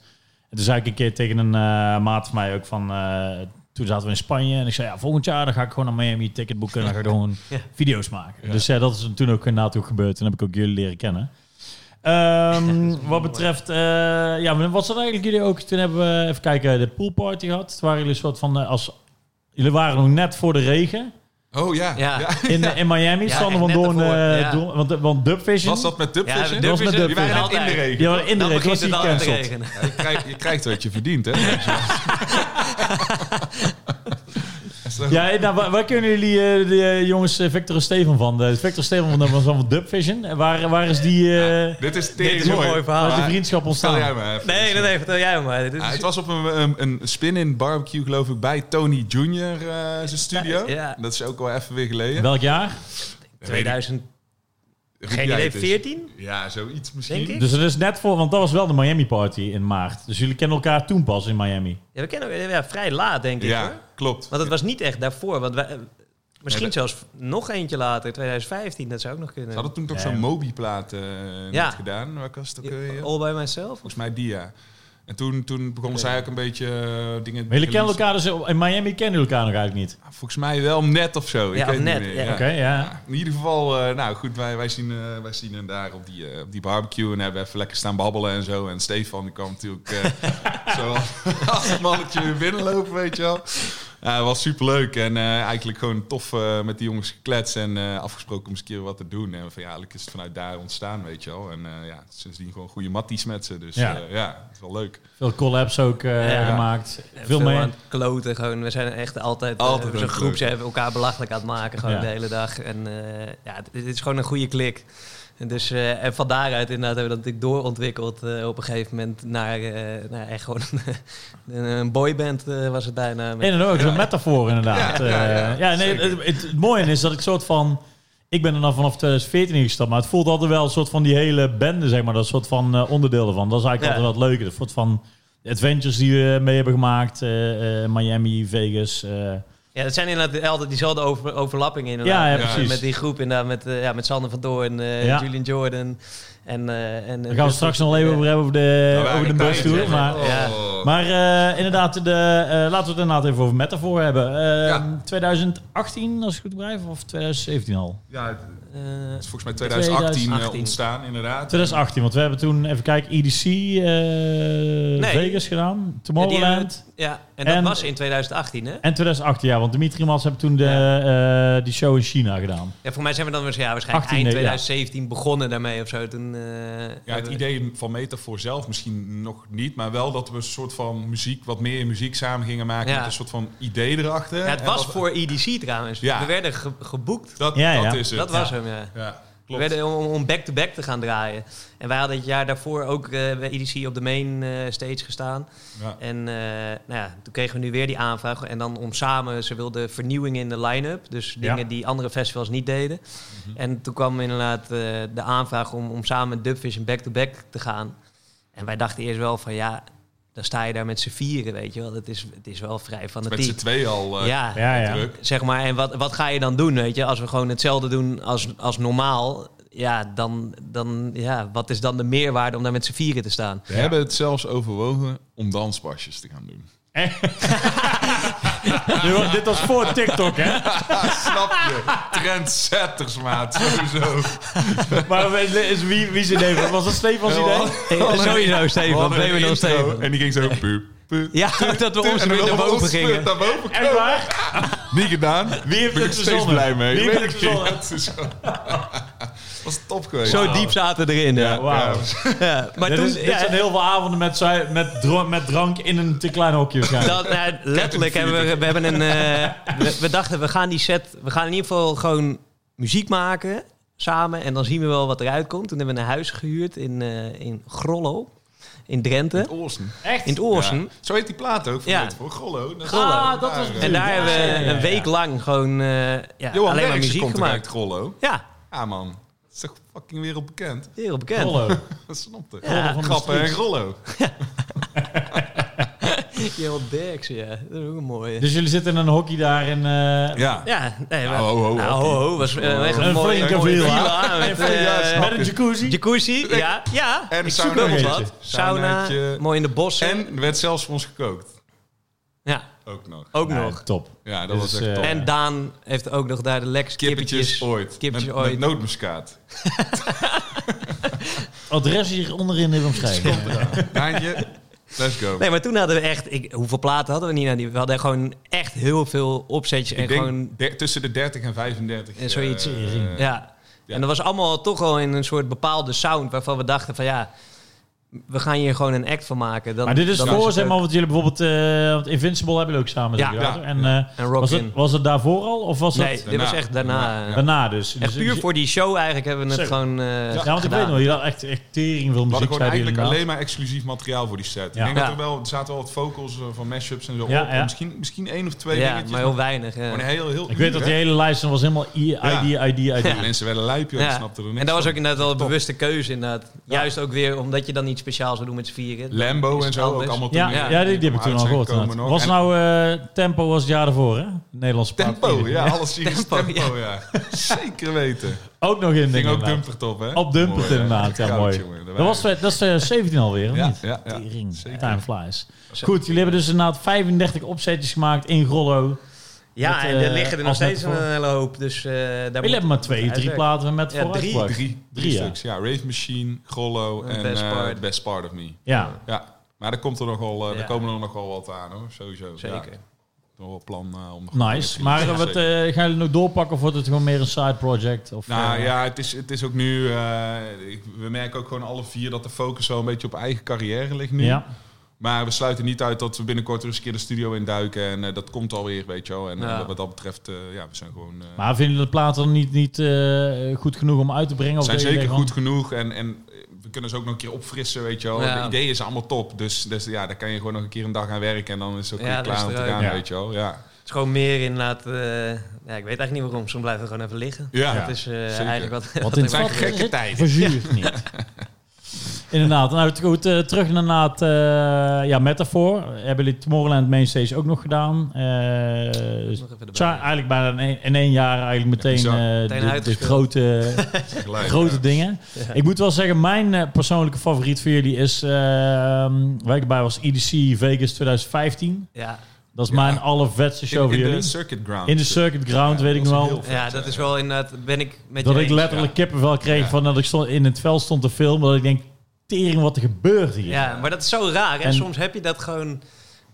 En toen zei ik een keer tegen een eh, maat van mij ook van, eh, toen zaten we in Spanje en ik zei ja, volgend jaar dan ga ik gewoon naar Miami ticket boeken en dan ga ik gewoon Ja. video's maken. Ja. Dus ja, dat is toen ook inderdaad ook gebeurd. Toen heb ik ook jullie leren kennen. Ehm, wat betreft, eh, ja, maar wat zijn eigenlijk jullie ook? Toen hebben we even kijken, de poolparty gehad. Toen waren jullie een soort van eh, als jullie waren nog net voor de regen. Oh ja. Ja. ja. In, in Miami, Ja, Sander echt van net Doorn. ervoor, eh, ja. Doorn- want, want Dubvision... Was dat met Ja, Dubvision? dat was met Die waren net in Dubvision. de regen. Ja, in de Dan regen begint was het die al te gecanceld. regenen. Ja, je, krijgt, je krijgt wat je verdient, hè? Ja, eh, nou, waar, waar kunnen jullie eh, de eh, jongens eh, Victor en Steven van? De, Victor en Steven van, de- was van Dubvision. En Waar, waar is die, eh, Dit is, Dit is een mooi. mooi verhaal. waar is die Maar- vriendschap Stel ontstaan? jij maar even. Nee, nee, nee, vertel jij maar. Dit is- Ja, het was op een, een, een spin-in barbecue, geloof ik, bij Tony Junior eh, zijn studio. Ja. Dat is ook al even weer geleden. Welk jaar? Dat weet ik 2000, Roep geen jij idee, het eens? 14? Ja, zoiets misschien. Denk ik. Dus het is net voor, want dat was wel de Miami party in maart. Dus jullie kennen elkaar toen pas in Miami. Ja, we kennen elkaar, ja, vrij laat, denk ik. hoor. Ja, klopt. Want het was niet echt daarvoor. Want wij, eh, misschien Nee, zelfs nog eentje later, 2015, dat zou ook nog kunnen. Ze hadden toen toch Ja. zo'n Mobi-plaat eh, Ja. net gedaan. Waar was het ook Ja, oh. weer? All by myself? Volgens mij die, ja. En toen, toen begonnen zij ook een beetje eh, dingen... Maar jullie kennen release- elkaar dus... In Miami kennen jullie elkaar nog eigenlijk niet. Ah, Volgens mij wel net of zo. Ik Ja, weet of het net, niet meer, ja. Oké, ja. Ja, in ieder geval, eh, nou goed, wij, wij, zien, eh, wij zien hem daar op die, eh, op die barbecue en hebben even lekker staan babbelen en zo. En Stefan die kwam natuurlijk eh, zo als een mannetje weer binnenlopen, weet je wel. En Ja, het was superleuk en eh, eigenlijk gewoon tof eh, met die jongens gekletst en eh, afgesproken om eens een keer wat te doen. En van, ja, eigenlijk is het vanuit daar ontstaan, weet je wel. En eh, ja, sindsdien gewoon goede matties met ze. Dus Ja. ja, ja het is wel leuk. Veel collabs ook eh, Ja. gemaakt. Veel Veel mee. aan het kloten gewoon. We zijn echt altijd, Altijd altijd aan zo'n het groep. kloten. Ze hebben elkaar belachelijk aan het maken gewoon Ja. de hele dag. En eh, ja, het, het is gewoon een goede klik. En, dus, eh, en van daaruit inderdaad hebben we dat natuurlijk doorontwikkeld eh, op een gegeven moment naar, eh, naar echt gewoon een, een boyband eh, was het bijna. Met- En dan ook zo'n metafoor inderdaad. Ja, Eh, Ja, ja, ja, nee, het, het, het mooie is dat ik soort van... Ik ben er dan vanaf 2014 in gestapt, maar het voelt altijd wel een soort van die hele bende, zeg maar. Dat soort van eh, onderdeel ervan. Dat is eigenlijk Ja. altijd wat leuker. Dat soort van adventures die we mee hebben gemaakt. eh, eh, Miami, Vegas. eh. Ja, dat zijn inderdaad altijd diezelfde over, overlappingen inderdaad. Ja, ja, Met- precies. Met die groep inderdaad, met, eh, ja, met Sander van Doorn, eh Ja. Julian Jordan. En, eh en, Daar gaan we straks nog even over hebben, over Nou, de, over de bus tour. Maar, Oh. Ja. maar eh, inderdaad, de, eh, laten we het inderdaad even over metafoor hebben. Eh, Ja. 2018, als ik goed begrijp, of 2017 al? Ja, het eh, is volgens mij 2018, 2018. ontstaan inderdaad. 2018, want we hebben toen, even kijken, EDC eh, Vegas gedaan, Ja, die hebben Tomorrowland. het- ja, en dat En- was in 2018, hè? En 2018, ja, want Dimitri Mas hebben toen de, eh, die show in China gedaan. Ja, voor mij zijn we dan waarsch- ja, waarschijnlijk 18e, eind ja. 2017 begonnen daarmee of zo. Toen, eh, Ja, het hebben- idee van metafoor zelf misschien nog niet, maar wel dat we een soort van muziek, wat meer muziek samen gingen maken Ja. met een soort van idee erachter. Ja, het En was dat- voor EDC trouwens. Ja. We werden ge- geboekt. Dat, Ja, ja. dat is het. Dat was hem, ja. Ja, We klopt. werden om om back-to-back te gaan draaien. En wij hadden het jaar daarvoor ook eh, bij EDC op de main eh, stage gestaan. Ja. En eh, nou ja, toen kregen we nu weer die aanvraag. En dan om samen, ze wilden vernieuwing in de line-up. Dus Ja. dingen die andere festivals niet deden. En toen kwam inderdaad eh, de aanvraag om, om samen met Dubvision back-to-back te gaan. En wij dachten eerst wel van ja, dan sta je daar met z'n vieren, weet je wel. Het is, het is wel vrij Met z'n fanatiek. twee al eh, Ja, Ja, ja. druk. zeg maar. En wat, wat ga je dan doen, weet je? Als we gewoon hetzelfde doen als, als normaal... Ja, dan, dan, ja, wat is dan de meerwaarde om daar met z'n vieren te staan? We hebben het zelfs overwogen om danspasjes te gaan doen. Dit was- Dit was voor TikTok, hè? Snap je? Trendsetters, maat. Sowieso. Maar we- is, wie, wie zijn idee? Was dat Stefan's idee? sowieso, Stefan. We hadden Bleven een dan intro Stefan. En die ging zo... Pup, pup. Ja, dat we ons En weer dan naar boven ons gingen. punt Naar boven Echt komen. waar? Niet gedaan. Wie heeft ben ik het steeds verzonnen? blij mee. Wie Ik heeft weet het niet. verzonnen? Het is zo- was top geweest. Zo diep zaten we erin, ja. Wauw. Ja. Ja, Maar Dit, toen... is, dit ja, zijn heel veel avonden met, zui- met, dro- met drank in een te klein hokje waarschijnlijk. dat, nou, letterlijk hebben we, we hebben een... eh, we, we dachten, we gaan die set... We gaan in ieder geval gewoon muziek maken samen. En dan zien we wel wat eruit komt. Toen hebben we een huis gehuurd in, eh, in Grollo. In Drenthe. Olsen. Echt? In het Oorsen. Ja. Zo heet die plaat ook. Van Ja. ja. Voor Grollo. Dat- Grollo. Ah, dat was het. En daar Ja, hebben ja, ja, we ja. een week lang gewoon eh, ja, Johan alleen maar Derksen muziek komt ook uit gemaakt. Grollo. Ja, Ja, man. Dat is toch fucking wereldbekend. wereldbekend. Rollo. Dat snapte. Ja. Rollo van de Grappen en street. Grollo. Johan Derksen, ja. Dat is ook een mooie. Dus jullie zitten in een hokje daar in... eh, Ja. ja, nee, maar, Nou, ho, ho, nou, ho. ho, ho, was eh, echt Een een mooie, flinke mooie villa. villa met eh, Ja, snap Met een jacuzzi. jacuzzi. Ja, ja. En ik sauna. zoek wel eens Eentje. wat. Sauna, Saunaatje. mooi in de bossen. En er werd zelfs voor ons gekookt. ja, Ook nog. ook Nou, nog. Top. Ja, dat Dus, was echt eh, top. ja. En Daan heeft ook nog daar de lekkerste Kippetjes kippetjes. ooit. Kippetjes met, met ooit. nootmuskaat. Adres hier onderin in de omschrijving. Daantje, let's go. Nee, maar toen hadden we echt... Ik, hoeveel platen hadden we niet? Nou, die- we hadden gewoon echt heel veel opzetjes. en ik denk gewoon der- tussen de 30 en 35. En zoiets. eh, Ja. Ja. En dat was allemaal toch wel in een soort bepaalde sound waarvan we dachten van ja, we gaan hier gewoon een act van maken. Dan, Maar dit is dan voor, het zeg maar, ook- want jullie bijvoorbeeld... eh, want Invincible hebben jullie ook samen Ja. gedaan. Ja. En, eh, En was, Rockin. het, was het daarvoor al? Of was Nee, dat dit was Daarna. echt daarna. Ja. daarna dus? Echt Dus- puur voor die show eigenlijk hebben we het Zo. gewoon eh, Ja, want ik gedaan. weet nog, je had echt, echt tering veel We hadden muziek, zeiden jullie gewoon nou. eigenlijk alleen inderdaad. maar exclusief materiaal voor die set. Ja. Ik denk Ja. dat er wel, er zaten wel wat vocals eh, van mashups en zo Ja, op. ja. Misschien, misschien één of twee ja, dingetjes. maar heel weinig. ja. gewoon heel, heel Ik weet dat die hele lijst dan was helemaal I, Ja. ID, ID, ID. Ja. Mensen werden lijp, joh. Ja. die snapten er niks En dat was van. ook inderdaad wel een bewuste keuze inderdaad. Juist ook weer omdat je dan iets speciaals zou doen met z'n vieren. Lambo Is en het zo, ook anders? allemaal Ja, toen, ja, eh, die, die heb ik toen uit al zijn gehoord. komen inderdaad. nog. Was En nou eh, Tempo was het jaar daarvoor, hè? Nederlandse plaat. Tempo, ja, alles hier is Tempo, tempo, ja. Zeker weten. Ook nog in, Ging denk ik. ook inderdaad. dumpert op, hè? Op Dumpert Mooi, hè? inderdaad, ja Goud, mooi. jongen, Dat was, dat is eh, 17 alweer, of Ja, niet? ja, ja. Tering, Zeker. time flies. Goed, jullie hebben dus inderdaad 35 opzetjes gemaakt in Grollo. Ja, Met, en eh, er liggen er nog als net steeds een voor. hele hoop. Dus eh, daar Jullie hebben maar twee, drie uitwerken. platen met Ja, drie. vooruitgebracht. Drie, Drie, drie ja. stuks, ja. Rave Machine, Grollo En en Best Best, Part. part. best part of Me. Ja, Ja, maar er, komt er nogal, eh, Ja. er komen er nogal wat aan, hoor. Sowieso. Zeker. Ja. nog wel plan eh, om... nog een Nice. project Maar te eh, releasen. wat, eh, gaan jullie nog doorpakken of wordt het gewoon meer een side project? Of, Nou eh, ja, het is, het is ook nu... eh, ik- we merken ook gewoon alle vier dat de focus wel een beetje op eigen carrière ligt nu. ja. Maar we sluiten niet uit dat we binnenkort er eens een keer de studio in duiken. En eh, dat komt alweer, weet je wel. En eh, Ja. wat dat betreft, eh, ja, we zijn gewoon... eh, Maar vinden jullie de platen dan niet, niet eh, goed genoeg om uit te brengen? Of zijn dat jullie zeker denken goed genoeg. En, en we kunnen ze ook nog een keer opfrissen, weet je wel. Ja. De ideeën zijn allemaal top. Dus, dus ja, daar kan je gewoon nog een keer een dag aan werken. En dan is het ook Ja, weer dat is klaar om te eruit. gaan, Ja. weet je wel. Ja. Het is gewoon meer inderdaad... eh, ja, ik weet eigenlijk niet waarom. Soms blijven we gewoon even liggen. Ja. Dat is eh, eigenlijk wat... van, Wat in het ik- zijn vat gekke zit, tijden. Verzuurt niet. Inderdaad. Nou, het- goed, eh, terug naar het, eh, ja, Metafor. Hebben jullie Tomorrowland Mainstage ook nog gedaan? Eh nog even Het zijn erbij. eigenlijk bijna in één, in één jaar eigenlijk meteen bizar. eh, Meteen de- de, uitgespeeld. grote, Gelijk, grote ja. dingen. Ja. Ik moet wel zeggen, mijn eh, persoonlijke favoriet voor jullie is... eh, waar ik bij was, EDC Vegas 2015. Ja, Dat is Ja. mijn allervetste show In- voor in, jullie. de circuit ground. in de circuit ground, Ja, weet ik dat nog was wel. heel vet, ja, hè. dat is wel inderdaad... Ben ik met Dat je ik eens. letterlijk kippenvel kreeg Ja. van dat ik stond, in het veld stond te filmen. Dat ik denk, tering wat er gebeurt hier. Ja, maar dat is zo raar. En, En- soms heb je dat gewoon...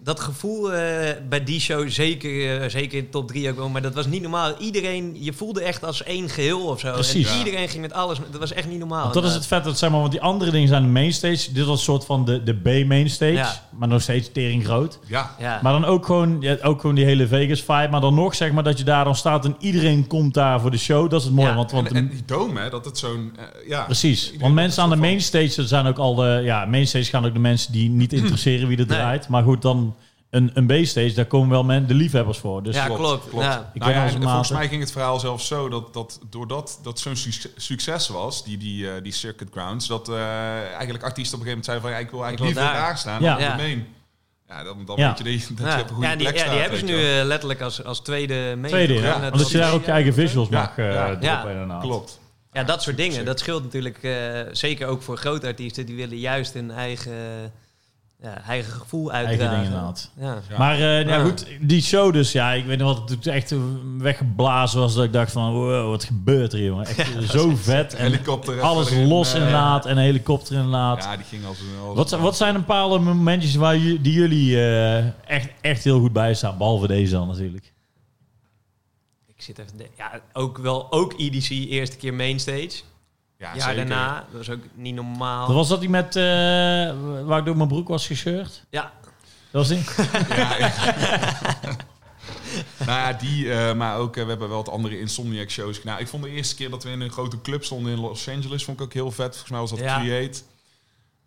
Dat gevoel eh, bij die show, zeker, eh, zeker in top 3 ook wel, maar dat was niet normaal. Iedereen, je voelde echt als één geheel of zo. Precies. En Ja. iedereen ging met alles. Dat was echt niet normaal. Want dat is het vet, dat, zeg maar, want die andere dingen zijn de mainstage. Dit was een soort van de, de B-mainstage, Ja. maar nog steeds tering groot. Ja. Ja. Maar dan ook gewoon, ja, ook gewoon die hele Vegas vibe. Maar dan nog zeg maar dat je daar dan staat en iedereen komt daar voor de show. Dat is het mooie. Ja, want, want en, en die dome, hè, dat het zo'n... eh, ja. precies. iedereen Want is mensen aan de ervan. mainstage, dat zijn ook al de... Ja, mainstage gaan ook de mensen die niet interesseren wie er Nee. draait. Maar goed, dan een, een B-stage, daar komen wel men, de liefhebbers voor. Dus Ja, Klopt, klopt. klopt. Ja. Ik Nou ken ja, onze en maten. volgens mij ging het verhaal zelfs zo dat, dat doordat dat zo'n suc- succes was, die, die, eh, die Circuit Grounds, dat eh, eigenlijk artiesten op een gegeven moment zeiden van ja, ik wil eigenlijk Ik wil liever daar, daar. staan Ja. dan op de main. Ja, dan, dan Ja. weet je die, dat Ja. je op een goede Ja, die, plek ja, staat. die hebben ze weet nu je wel. eh, letterlijk als, als tweede mee. tweede, Ja, ja. Omdat je daar ook je eigen visuals Ja, mag eh ja. droppen Ja, inderdaad. Klopt. Ja, dat soort dingen. Dat scheelt natuurlijk eh, zeker ook voor grote artiesten. Die willen juist hun eigen, ja, eigen gevoel Eigen uitdragen. dingen inderdaad. Ja. eh, Ja. Maar eh, nou Ja. goed, die show dus, ja, ik weet nog wat, het echt eh, weggeblazen was dat ik dacht van, wow, wat gebeurt er, jongen? Echt zo vet. En Helikopter. alles even erin, los eh, inderdaad en een helikopter inderdaad. Ja, die ging als een... Als Wat, zijn- wat zijn een paar momentjes waar ju- die jullie eh, echt, echt heel goed bij staan? Behalve deze dan natuurlijk. Ik zit even... te- Ja, ook wel ook EDC, eerste keer mainstage. Ja, zeker. daarna. Dat was ook niet Oh. normaal. Dat was dat die met, eh, waar ik door mijn broek was gescheurd? Ja, Dat was die? Ja, ja. nou ja, die, eh, maar ook, eh, we hebben wel wat andere Insomniac shows gedaan. Nou, Ik vond de eerste keer dat we in een grote club stonden in Los Angeles, vond ik ook heel vet. Volgens mij was dat Ja. Create.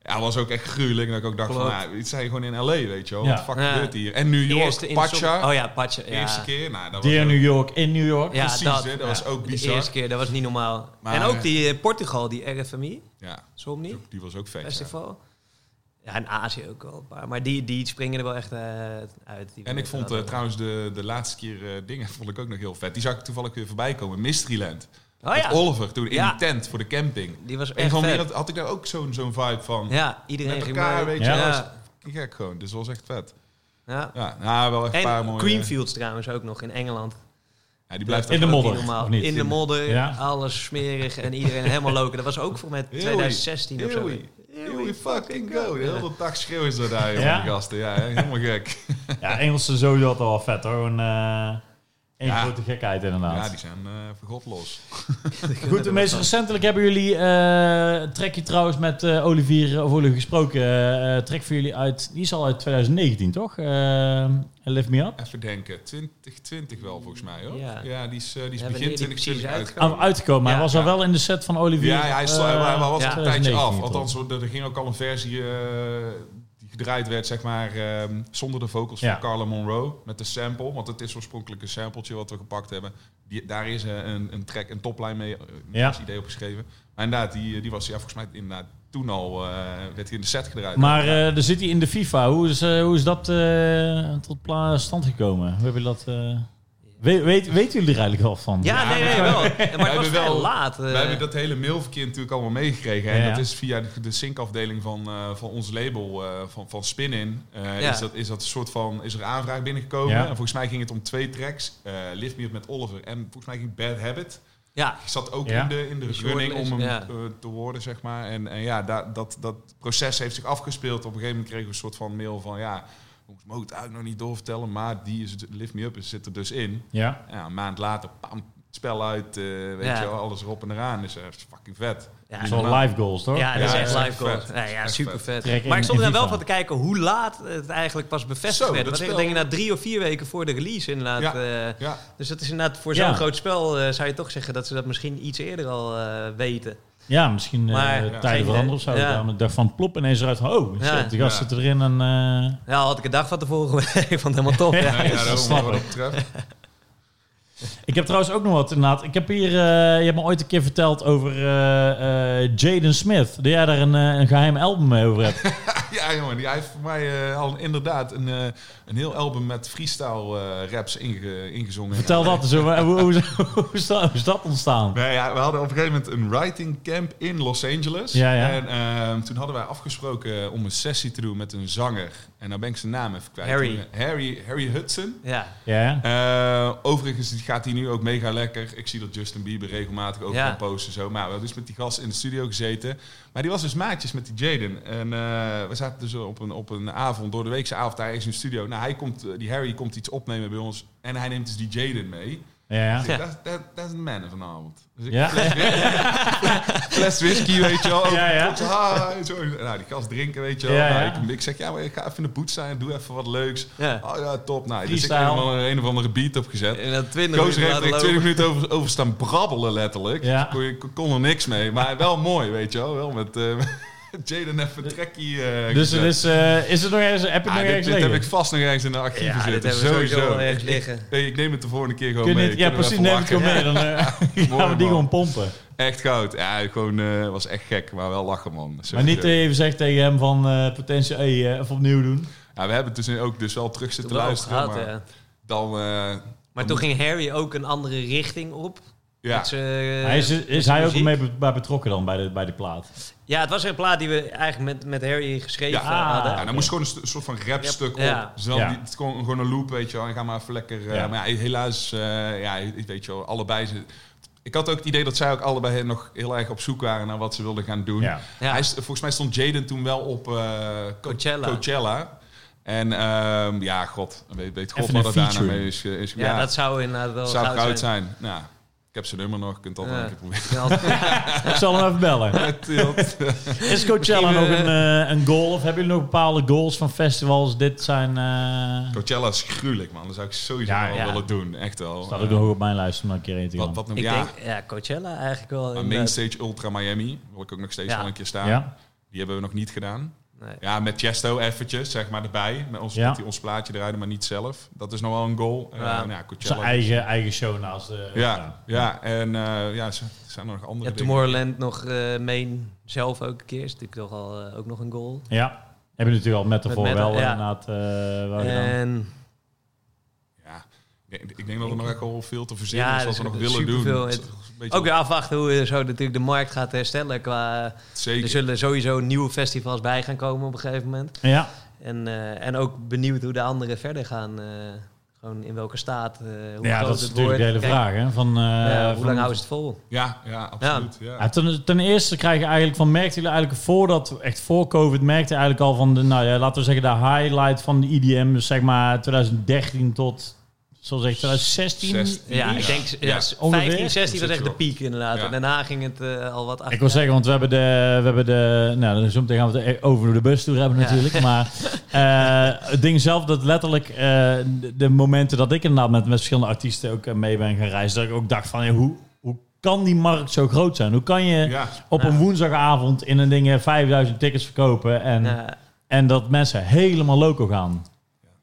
Ja, dat was ook echt gruwelijk. Dat ik ook dacht Klopt. van, nou, dit zijn gewoon in L.A., weet je wel. Ja. Wat de fuck Ja. gebeurt hier? En New York, eerste in Pacha. som- Oh ja, Pacha. Ja. Eerste keer, nou, dat was Dear ook- New York in New York. Ja, Precies, hè, dat was ook bizar. De eerste keer, dat was niet normaal. Maar- en ook die eh, Portugal, die RFMI, Ja, Somni die was ook vet. ja. Festival. Ja, en Azië ook wel een paar. Maar die, die springen er wel echt eh, uit. Die En ik weten vond dat eh, ook. trouwens de, de laatste keer eh, dingen vond ik ook nog heel vet. Die zag ik toevallig weer voorbij komen. Mysteryland. Oh ja, Met Oliver toen in Ja. die tent voor de camping. die was Op een echt van vet. meer had ik daar ook zo'n zo'n vibe van. Ja, iedereen Met ging elkaar, mee. weet je, ja. dat Gek gewoon, dus dat was echt vet. ja. Ja, nou, wel echt een paar En mooie... Creamfields trouwens ook nog in Engeland. Ja, die blijft In de echt- Ook modder, niet normaal. of niet? In de modder, Ja. alles smerig en iedereen helemaal loken. Dat was ook voor mij Eeuwie. 2016 of zo. Eeuwie. Here we fucking go. De hele dag schreeuwen ze daar, jongen, Ja? die gasten. Ja, helemaal gek. Ja, Engelsen sowieso altijd wel vet hoor. Gewoon eh één Ja. grote gekheid inderdaad. Ja, die zijn eh voor god los. Goed, de meest recentelijk hebben jullie eh een trekje trouwens met eh, Olivier of Olivier gesproken. eh eh, trek voor jullie uit, die is al uit 2019 toch? Eh Lift Me Up. Even denken. 2020 wel, volgens mij, hoor. Ja. Ja, die is, eh, die is Hebben begin die precies 2020 uitgekomen? Aan Ah, uitgekomen, maar Ja. hij was al wel in de set van Olivier. Ja, ja, hij, stond- eh, hij was ja. een tijdje 2019 af. toch? Althans, er er ging ook al een versie eh, die gedraaid werd, zeg maar, ehm, zonder de vocals Ja. van Carla Monroe. Met de sample, want het is oorspronkelijk een sampletje wat we gepakt hebben. Die, daar is eh, een, een track, een topline mee, eh, Ja. als idee opgeschreven. Maar inderdaad, die, die was ja, volgens mij inderdaad toen al, eh, werd hij in de set gedraaid. Maar eh daar zit hij in de FIFA. Hoe is, eh, hoe is dat eh, tot pla- stand gekomen? Hoe hebben jullie dat... eh, weet, weet, weten jullie er eigenlijk wel van? Ja, nee, nee, wel. Maar het was hebben vrij wel- laat. eh. We hebben dat hele mailverkeer natuurlijk allemaal meegekregen. En Ja, ja. dat is via de, de syncafdeling van, eh, van ons label, eh, van, van Spin-In. eh, Ja. is, dat, is dat een soort van, is er aanvraag binnengekomen. Ja. En volgens mij ging het om twee tracks. eh Lift Me Up met Oliver en volgens mij ging Bad Habit. Ja, Ik zat ook Ja. in de, in de Die running om hem shortlist, ja. eh, te worden, zeg maar. En, en ja, dat, dat, dat proces heeft zich afgespeeld. Op een gegeven moment kregen we een soort van mail van... ja Jongens, mogen het eigenlijk nog niet doorvertellen, maar die is, Lift Me Up is, zit er dus in. Ja. Ja, een maand later, pam, het spel uit, eh, weet Ja. je wel, alles erop en eraan. Dus dat is fucking vet. Dus Ja. Dat is wel live goals, toch? Ja, dat is Ja, echt dat is live echt goals. vet. Ja, ja, Echt super vet. Trek in- maar ik stond er in dan wel FIFA. van te kijken hoe laat het eigenlijk pas bevestigd Zo, werd. dat Want ik spel- denk na drie of vier weken voor de release inderdaad. eh, Ja, dus dat is inderdaad voor Ja. zo'n groot spel eh, zou je toch zeggen dat ze dat misschien iets eerder al eh, weten. Ja, misschien eh, Maar- de Ja. tijden veranderen of zo. Ja. Ja. Ik dacht van plop ineens eruit van, oh, Ja. shit, de gast Ja. zit erin en... eh, Ja, had ik een dag van tevoren. ik vond het helemaal top. Ja. Ja. Nee, ja, daarom, snap wat ik. dat betreft. Ik heb trouwens ook nog wat inderdaad. Ik heb hier, eh, je hebt me ooit een keer verteld over eh, eh, Jaden Smith. Dat jij daar een, eh, een geheim album mee over hebt. Ja, jongen, die hij heeft voor mij eh, al inderdaad een, eh, een heel album met freestyle eh, raps inge- ingezongen. Vertel dat eens. Hoe, hoe, hoe, hoe is dat- hoe is dat ontstaan? Nee, ja, we hadden op een gegeven moment een writing camp in Los Angeles. Ja, ja. En ehm, toen hadden wij afgesproken om een sessie te doen met een zanger. En nou ben ik zijn naam even kwijt. eh, Harry. Harry, Harry Hudson. Ja. Ja, Eh, overigens die gaat hij nu ook mega lekker. Ik zie dat Justin Bieber regelmatig ook Ja. kan posten. Zo. Maar we hebben dus met die gast in de studio gezeten. Maar die was dus maatjes met die Jaden. En eh, we zaten dus op een, op een avond, door de weekse avond, daar eens in de studio. Nou, hij komt, eh, die Harry komt iets opnemen bij ons. En hij neemt dus die Jaden mee. ja. Dus ik, dat- Dat dat is een man vanavond. Dus ik Ja. fles, whisky- fles whisky, weet je wel. Ja, ja. Tot, ah, zo. Nou, die gast drinken, weet je wel. Ja, Nou, ja. ik, ik zeg, ja, maar ik ga even in de boot zijn. Doe even wat leuks. Ja. Oh ja, top. Nou, dus ik heb Freestyle. helemaal een of andere beat opgezet. En dat 20 Koos minuten heeft laten er lopen. 20 minuten over, over staan brabbelen, letterlijk. Ja. Dus kon, je- kon- kon er niks mee. Maar wel mooi, weet je wel. wel met eh, Jaden even een trekkie eh, Dus gezet. het is, eh, is het nog ergens, heb je het Ah, nog dit, ergens dit heb ik liggen? vast nog ergens in de archieven Ja, dit zitten. hebben we sowieso wel ergens Ik- ik- liggen. Ik, ik neem het de volgende keer gewoon Kun je mee. niet- ja, Kunnen we precies, even neem ik hem mee. lachen. Dan eh, gaan we Mooi, die man. gewoon pompen. Echt goud. Ja, gewoon eh, was echt gek, maar wel lachen, man. Maar niet Sowieso. even zeggen tegen hem van eh potentie, hey, eh, even opnieuw doen. ja, we hebben het dus ook dus wel terug Dat zitten wel luisteren. gehad, maar ja. dan, eh, Maar toen ging Harry ook een andere richting op. Dus, eh, Met zijn- ja. hij is met is zijn hij ook muziek. mee be- bij betrokken dan, bij de, bij de plaat? Ja, het was een plaat die we eigenlijk met, met Harry geschreven Ja. Ah. Ja, hadden. dan moest gewoon een st- soort van rapstuk op. Ja. Dus dan Ja. die- het is gewoon, gewoon een loop, weet je wel. En ga maar even lekker... eh, Ja. Maar ja, helaas, eh, ja, ik- weet je wel, allebei... Ze, ik had ook het idee dat zij ook allebei nog heel erg op zoek waren naar wat ze wilden gaan doen. Ja. Ja. Hij, is- volgens mij stond Jaden toen wel op eh, Co- Coachella. Coachella. En ehm, ja, god, weet, weet god Even wat een er daarna featuring. mee is, ge- is Ja, dat zou inderdaad wel Het zou goud goud zijn. Nou, ik heb zijn nummer nog, je kunt dat Ja. een keer proberen. Ik zal hem even bellen. Is Coachella nog Misschien, een, eh, een goal? Of hebben jullie nog bepaalde goals van festivals? Dit zijn... eh, Coachella is gruwelijk, man. Dat zou ik sowieso Ja, wel ja. willen doen. Echt wel. Eh, staat ook nog hoog op mijn lijst om daar een keer heen te gaan. wat, wat nog, Ik ja, denk, ja, Coachella eigenlijk wel. maar inderdaad. Mainstage Ultra Miami, wil ik ook nog steeds Ja. wel een keer staan. ja? Die hebben we nog niet gedaan. Nee. Ja, met Chesto eventjes, zeg maar, erbij. Met ons, Ja. dat hij ons plaatje draaide, maar niet zelf. Dat is nog wel een goal. Eh, Ja. nou ja, Zijn Coachella. eigen, eigen show naast de... ja, ja, en eh, ja, z- zijn er nog andere Ja, dingen? Tomorrowland nog eh main zelf ook een keer. Is natuurlijk toch al eh, ook nog een goal. Ja. Heb je natuurlijk al met de Met voor metal, wel ja. inderdaad. eh, wel Oh, gedaan. En Ja, ik denk- ik denk dat er nog echt wel veel te verzinnen Ja, is wat dus we nog er- willen doen. superveel. Het is Het- een beetje ook weer afwachten hoe eh, zo natuurlijk de markt gaat herstellen. Qua, er Zeker. zullen sowieso nieuwe festivals bij gaan komen op een gegeven moment. Ja. En, eh, en ook benieuwd hoe de anderen verder gaan. eh, gewoon in welke staat, eh, hoe Ja, groot dat is het natuurlijk de hele wordt. Kijk, vraag. Hè? Van, eh, ja, van- hoe lang houden ze het vol? Ja, ja, absoluut. Ja. Ja, ten, ten eerste krijg je eigenlijk van, merkten jullie eigenlijk voordat, we- echt voor COVID, merkte je eigenlijk al van, de, nou ja, laten we zeggen, de highlight van de IDM, dus zeg maar 2013 tot, zoals zeg, 2016. 16. Ja, ik Ja. denk Ja. ja, Ongeveer. 15, 16 was echt de piek inderdaad. Ja. En daarna ging het eh, al wat Ik wil zeggen, want we hebben de, we hebben de, nou, zo meteen gaan we het over de bus toe hebben Ja. natuurlijk, maar eh, het ding zelf, dat letterlijk eh, de, de momenten dat ik inderdaad met, met verschillende artiesten ook eh, mee ben gaan reizen, dat ik ook dacht van, hey, hoe, hoe kan die markt zo groot zijn? Hoe kan je Ja. op Ja. een woensdagavond in een ding eh, 5000 tickets verkopen en... Ja, En dat mensen helemaal loco gaan.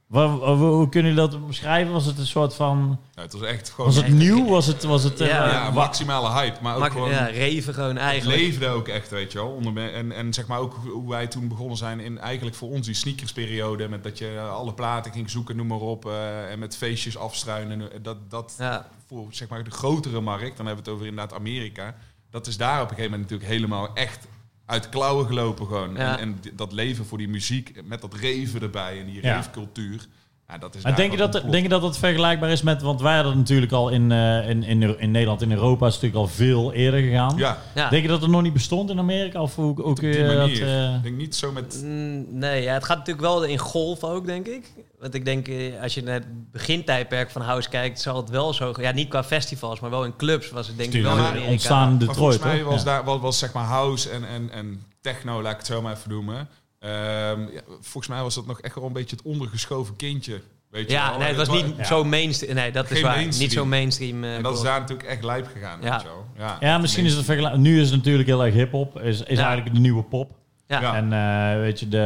Wa- wa- wa- hoe kunnen jullie dat beschrijven? Was het een soort van. Ja, het was echt gewoon Was het Nee, nieuw? Was het. Was het eh, Ja, ja, maximale hype, maar ook mak- gewoon ja, reven gewoon het eigenlijk. leefde ook echt, weet je wel. Onder me- en, en zeg maar ook hoe- hoe wij toen begonnen zijn in eigenlijk voor ons die sneakersperiode, met dat je alle platen ging zoeken, noem maar op, eh, en met feestjes afstruinen. En Dat, dat Ja, voor zeg maar de grotere markt, dan hebben we het over inderdaad Amerika, dat is daar op een gegeven moment natuurlijk helemaal echt uit de klauwen gelopen gewoon. Ja. En, en d- dat leven voor die muziek, met dat reven erbij en die Ja. reefcultuur. Ja, Ja, dat is Maar daar denk je, wel dat, een plot. denk je dat dat vergelijkbaar is met... Want wij hadden natuurlijk al in, eh, in, in, in Nederland, in Europa... is het natuurlijk al veel eerder gegaan. Ja, Ja. Denk je dat het nog niet bestond in Amerika? Of hoe, hoe kun op die je dat... manier. eh, Ik denk niet zo met... Mm, Nee, ja, het gaat natuurlijk wel in golf ook, denk ik. Want ik denk, eh, als je naar het begintijdperk van House kijkt, zal het wel zo... Ja, niet qua festivals, maar wel in clubs was het denk ik wel Tuurlijk, in maar die Amerika. eh, ontstaan in Maar Detroit, volgens mij hoor. was, Ja. daar, was, was zeg maar house en, en, en techno, laat ik het zo maar even noemen. Ehm, ja, volgens mij was dat nog echt wel een beetje het ondergeschoven kindje. Weet je Ja, wel. nee, het was wa- niet Ja. zo mainstream. Nee, dat Geen is waar. mainstream. Niet zo mainstream. eh, En dat is golf. daar natuurlijk echt lijp gegaan. Ja. Weet je wel. Ja, Ja, misschien is het vergelijk. Nu is het natuurlijk heel erg hip-hop. Is, is Ja. eigenlijk de nieuwe pop. Ja. Ja. En, eh, weet je, de,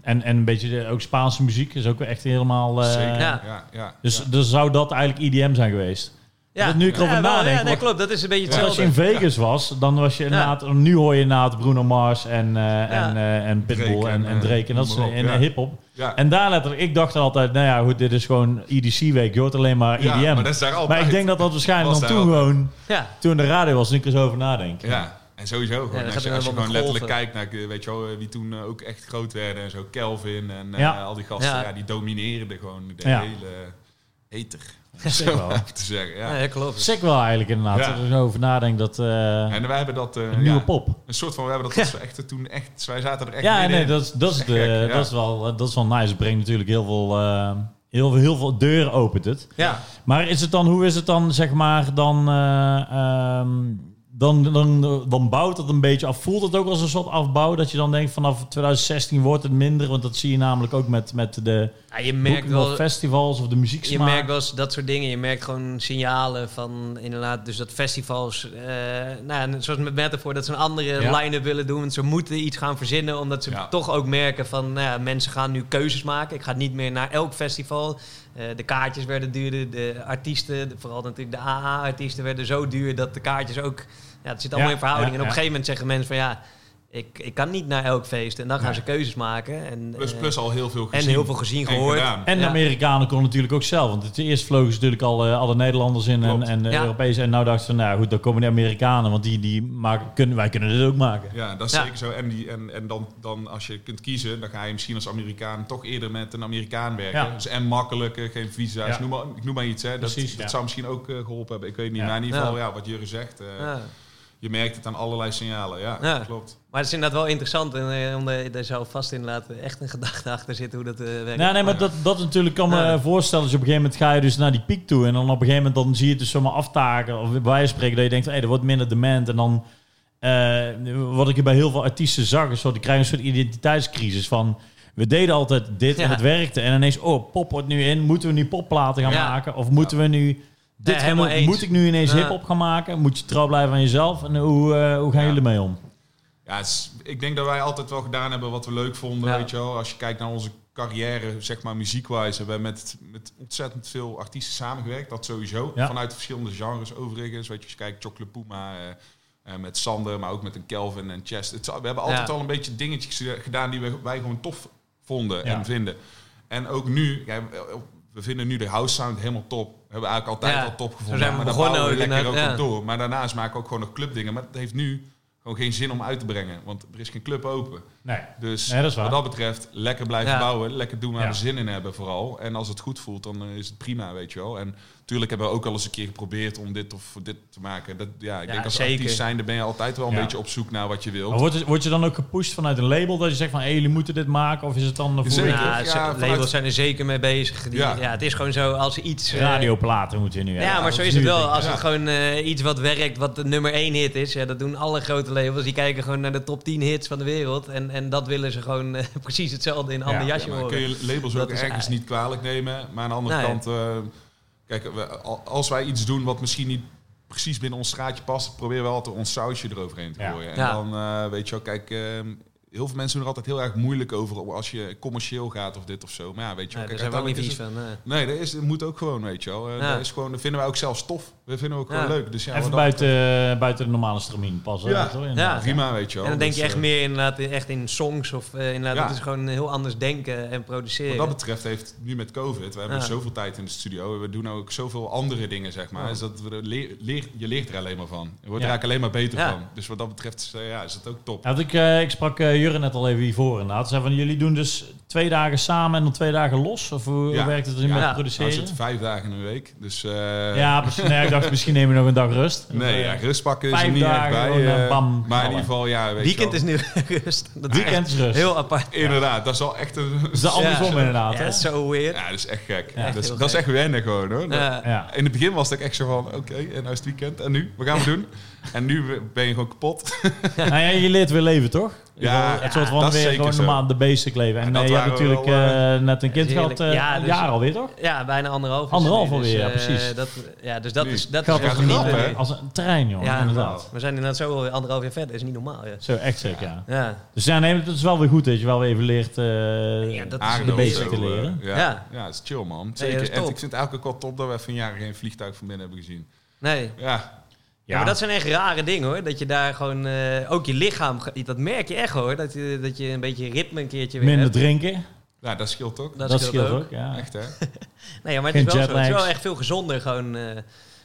en, en een beetje de, ook Spaanse muziek is ook echt helemaal. eh, Zeker, Ja. ja. Ja, Dus, Ja. dus zou dat eigenlijk IDM zijn geweest? Ja. Dat nu ik erover Ja, wel, nadenk, Ja, nee, want- klopt. Dat is een beetje Ja. Want als je in hetzelfde. Vegas was, dan was je inderdaad. Nu hoor je inderdaad Bruno Mars en, eh, en, eh, en Pitbull Drake en, en, eh, en Drake en dat is noem maar op, en ja. hip-hop. Ja. En daar letterlijk, ik dacht altijd, nou ja, goed, dit is gewoon EDC-week. Je hoort alleen maar IDM. Ja, E maar, maar dat is daar altijd. ik denk dat dat waarschijnlijk Was dan toen daar gewoon, Ja. toen de radio was, en ik er zo over nadenk. Ja, en sowieso. Ja, Gewoon, dan als gaat je, het als je helemaal gewoon letterlijk golven. kijkt naar eh, weet je wel, eh, wie toen eh, ook echt groot werden en zo. Kelvin en eh, Ja. al die gasten, Ja. ja. die domineerden gewoon de Ja. hele eter. Om Sick zo wel. maar te zeggen. Ja. Nee, klopt. Sick wel eigenlijk inderdaad, Ja. als je er zo over nadenkt. Dat, eh, En wij hebben dat. eh, een nieuwe ja, pop. Een soort van, we hebben dat echt toen echt. Wij zaten er echt. Ja, middenin. nee, dat, is- dat, is Echt de, gek, ja. dat, is wel, eh, dat is wel nice. Het brengt natuurlijk heel veel, eh, heel, veel- heel veel deuren opent het. Ja. Maar is het dan, hoe is het dan, zeg maar, dan, eh, ehm, dan, dan, dan bouwt het een beetje af. Voelt het ook als een soort afbouw? Dat je dan denkt vanaf 2016 wordt het minder. Want dat zie je namelijk ook met, met de Ja, je merkt boeking of wel... festivals of de Je muzieksmaak. merkt wel eens dat soort dingen. Je merkt gewoon signalen van inderdaad, dus dat festivals, eh, nou, ja, zoals met Metafor, dat ze een andere Ja. line-up willen doen. Want ze moeten iets gaan verzinnen, omdat ze Ja. toch ook merken van, nou ja, mensen gaan nu keuzes maken. Ik ga niet meer naar elk festival. Eh, de kaartjes werden duurder, de artiesten, de- vooral natuurlijk de AA-artiesten, werden zo duur dat de kaartjes ook, ja, het zit allemaal Ja, in verhouding. ja, en op een ja. gegeven moment zeggen mensen van, ja, ik, ik kan niet naar elk feest. En dan gaan Nee. ze keuzes maken. En, Plus, eh, plus al heel veel en gezien. heel veel gezien, en gehoord. gedaan. En de Ja. Amerikanen konden natuurlijk ook zelf. Want het eerst vlogen ze natuurlijk al, eh, alle Nederlanders in en, Klopt. en de Ja. Europese. En nou dachten ze, nou goed, dan komen de Amerikanen. Want die, die maken, kunnen, wij kunnen dit ook maken. Ja, dat is Ja. zeker zo. En, die, en, en dan, dan als je kunt kiezen, dan ga je misschien als Amerikaan toch eerder met een Amerikaan werken. Ja. Dus en makkelijker, geen visa's, Ja. noem maar, ik noem maar iets. Hè. Dat, Precies, dat ja. zou misschien ook eh, geholpen hebben. Ik weet niet. Ja. Maar in ieder Ja. geval, ja. wat Jurre zegt, eh, Ja. je merkt het aan allerlei signalen. Ja, Ja. klopt. Maar het is inderdaad wel interessant en eh, om er daar zelf vast in laten echt een gedachte achter zitten hoe dat eh, werkt. Ja, nee, maar dat, dat natuurlijk kan me Ja. eh, voorstellen. Dus op een gegeven moment ga je dus naar die piek toe. En dan op een gegeven moment dan zie je het dus zomaar aftaken. Of bij wijze van spreken dat je denkt, hey, er wordt minder demand. En dan, eh, wat ik bij heel veel artiesten zag, is dat die krijgen een soort identiteitscrisis van... We deden altijd dit Ja. en het werkte. En ineens, oh, pop wordt nu in. Moeten we nu popplaten gaan Ja. maken? Of moeten we nu... Dit gaan helemaal doen? eens. Moet ik nu ineens Ja. hip-hop gaan maken? Moet je trouw blijven aan jezelf? En hoe, eh, hoe gaan Ja. jullie mee om? Ja, het is- ik denk dat wij altijd wel gedaan hebben wat we leuk vonden. Ja. Weet je wel. Als je kijkt naar onze carrière, zeg maar muziekwijs, hebben we met, met ontzettend veel artiesten samengewerkt. Dat sowieso. Ja. Vanuit verschillende genres overigens. Weet je, als je kijkt, Chocolate Puma, eh, eh, met Sander, maar ook met een Kelvin en Chest. Het, we hebben altijd Ja. al een beetje dingetjes eh, gedaan die we, wij gewoon tof vonden Ja. en vinden. En ook nu, ja, we vinden nu de house sound helemaal top. We hebben eigenlijk altijd Ja. al top Zo gevonden. zijn we maar daar begonnen bouwen we ook lekker ook inderdaad, op ja. door. Maar daarnaast maken we ook gewoon nog clubdingen. Maar dat heeft nu gewoon geen zin om uit te brengen. Want er is geen club open. Nee. Dus Nee, dat is waar. wat dat betreft, lekker blijven Ja. bouwen. Lekker doen waar Ja. we zin in hebben vooral. En als het goed voelt, dan eh, is het prima, weet je wel. En natuurlijk hebben we ook al eens een keer geprobeerd om dit of dit te maken. Dat, ja, ik Ja, denk als zeker. artiest zijnde ben je altijd wel een Ja. beetje op zoek naar wat je wilt. Maar word, je- word je dan ook gepusht vanuit een label dat je zegt van... hé, jullie moeten dit maken? Of is het dan... Zeker. Ja. Ja, Ja, ze- vanuit- labels zijn er zeker mee bezig. Die, ja. Ja. het is gewoon zo als iets... eh, Radioplaten moeten we nu Ja, hebben. maar Dat zo is het nu wel. ding. Als Ja. het gewoon eh, iets wat werkt, wat de nummer 1 hit is. Ja, dat doen alle grote labels. Die kijken gewoon naar de top 10 hits van de wereld. En, en dat willen ze gewoon eh, precies hetzelfde in een Ja. ander Ja, jasje maar horen. kun je labels Dat ook is ergens ei- niet kwalijk nemen. Maar aan de andere Nee. kant, eh, kijk, we, al- als wij iets doen wat misschien niet precies binnen ons straatje past, proberen we altijd ons sausje eroverheen te Ja. gooien. En Ja. dan eh, weet je wel, kijk, eh, heel veel mensen doen er altijd heel erg moeilijk over als je commercieel gaat of dit of zo. Maar ja, weet je Nee, daar wel, kijk, zijn we ook niet uiteindelijk vies is het- van. eh. Nee, dat, is, dat moet ook gewoon, weet je wel. Eh, Ja. dat, is gewoon, dat vinden wij ook zelfs tof. We We vinden ook Ja. wel leuk. Dus ja, Even wat dat buiten, buiten de normale stramien passen. Ja. toch? betreft, Inderdaad. Prima, weet je wel. En dan denk je Dus, echt eh, meer inderdaad in- echt in songs of eh, inderdaad, Ja. dat is gewoon heel anders denken en produceren. Wat dat betreft heeft nu met COVID, we hebben Ja. zoveel tijd in de studio, we doen ook zoveel andere dingen, zeg maar. Dus dat we de leer, leer- je leert er alleen maar van. Ja. Je wordt er eigenlijk alleen maar beter Ja. van. Dus wat dat betreft is, eh, ja, is dat ook top. Ja, want ik, eh, ik sprak eh Jurre net al even hiervoor inderdaad. Ze zei van, jullie doen dus twee dagen samen en dan twee dagen los? Of hoe Ja. werkt het er Ja. met Ja. Nou, we produceren? zitten vijf dagen in een week, dus eh, ja, precies. Nee, ik dacht, misschien nemen we nog een dag rust. nee, Eh, ja, rust pakken is er vijf niet echt dagen bij. gewoon, eh, eh, bam, maar in knallen. ieder geval, ja, weet Weekend je is nu rust. Dat is Weekend is rust. heel apart. wel. Inderdaad, dat is al echt een... is de Dus- andersom Ja. inderdaad. Ja, hè? dat is zo Eh, weird. Ja, dat is echt gek. Ja. dat, is, Heel dat is gek. echt wennen gewoon, hoor. Dat- Ja. Ja. In het begin was het ook echt zo van, oké, en nou is het weekend, en nu? Wat gaan we doen? En nu ben je gewoon kapot. Nou ja, je leert weer leven, toch? Ja, het soort dat van is weer zeker gewoon zo. normaal de basic leven. En, En dat eh, je hebt waren we natuurlijk eh, wel, net een dat is kind gehad, heerlijk. eh, Ja, een dus- jaar alweer, toch? Ja, bijna anderhalf. is Anderhalf het nu, alweer, dus, ja, eh, precies. Dat, ja, dus dat Nu. is, dat Gaat is als, gaat een, het genieten rap, nu. hè? als een trein, jongen. Ja, inderdaad. We zijn inderdaad zo alweer anderhalf jaar verder. Dat is niet normaal, ja. Zo, echt zeker, ja. Ja, Dus ja, nee, dat is wel weer goed dat je wel weer even leert... eh, ja dat is aarde de basic of te zo, leren. eh, Ja, Ja. ja. dat is chill, man. dat is Zeker. en top. ik vind het eigenlijk ook wel top dat we even een jaar geen vliegtuig van binnen hebben gezien. Nee. Ja, Ja, maar dat zijn echt rare dingen hoor. Dat je daar gewoon eh, ook je lichaam. ge- Dat merk je echt hoor. Dat je, dat je een beetje ritme een keertje weer. Minder hebt. drinken, ja dat scheelt ook. dat, Dat scheelt scheelt ook. ja. Echt, hè? Nee, ja, maar het is Geen wel zo. Het is wel jetlags. echt veel gezonder gewoon. eh,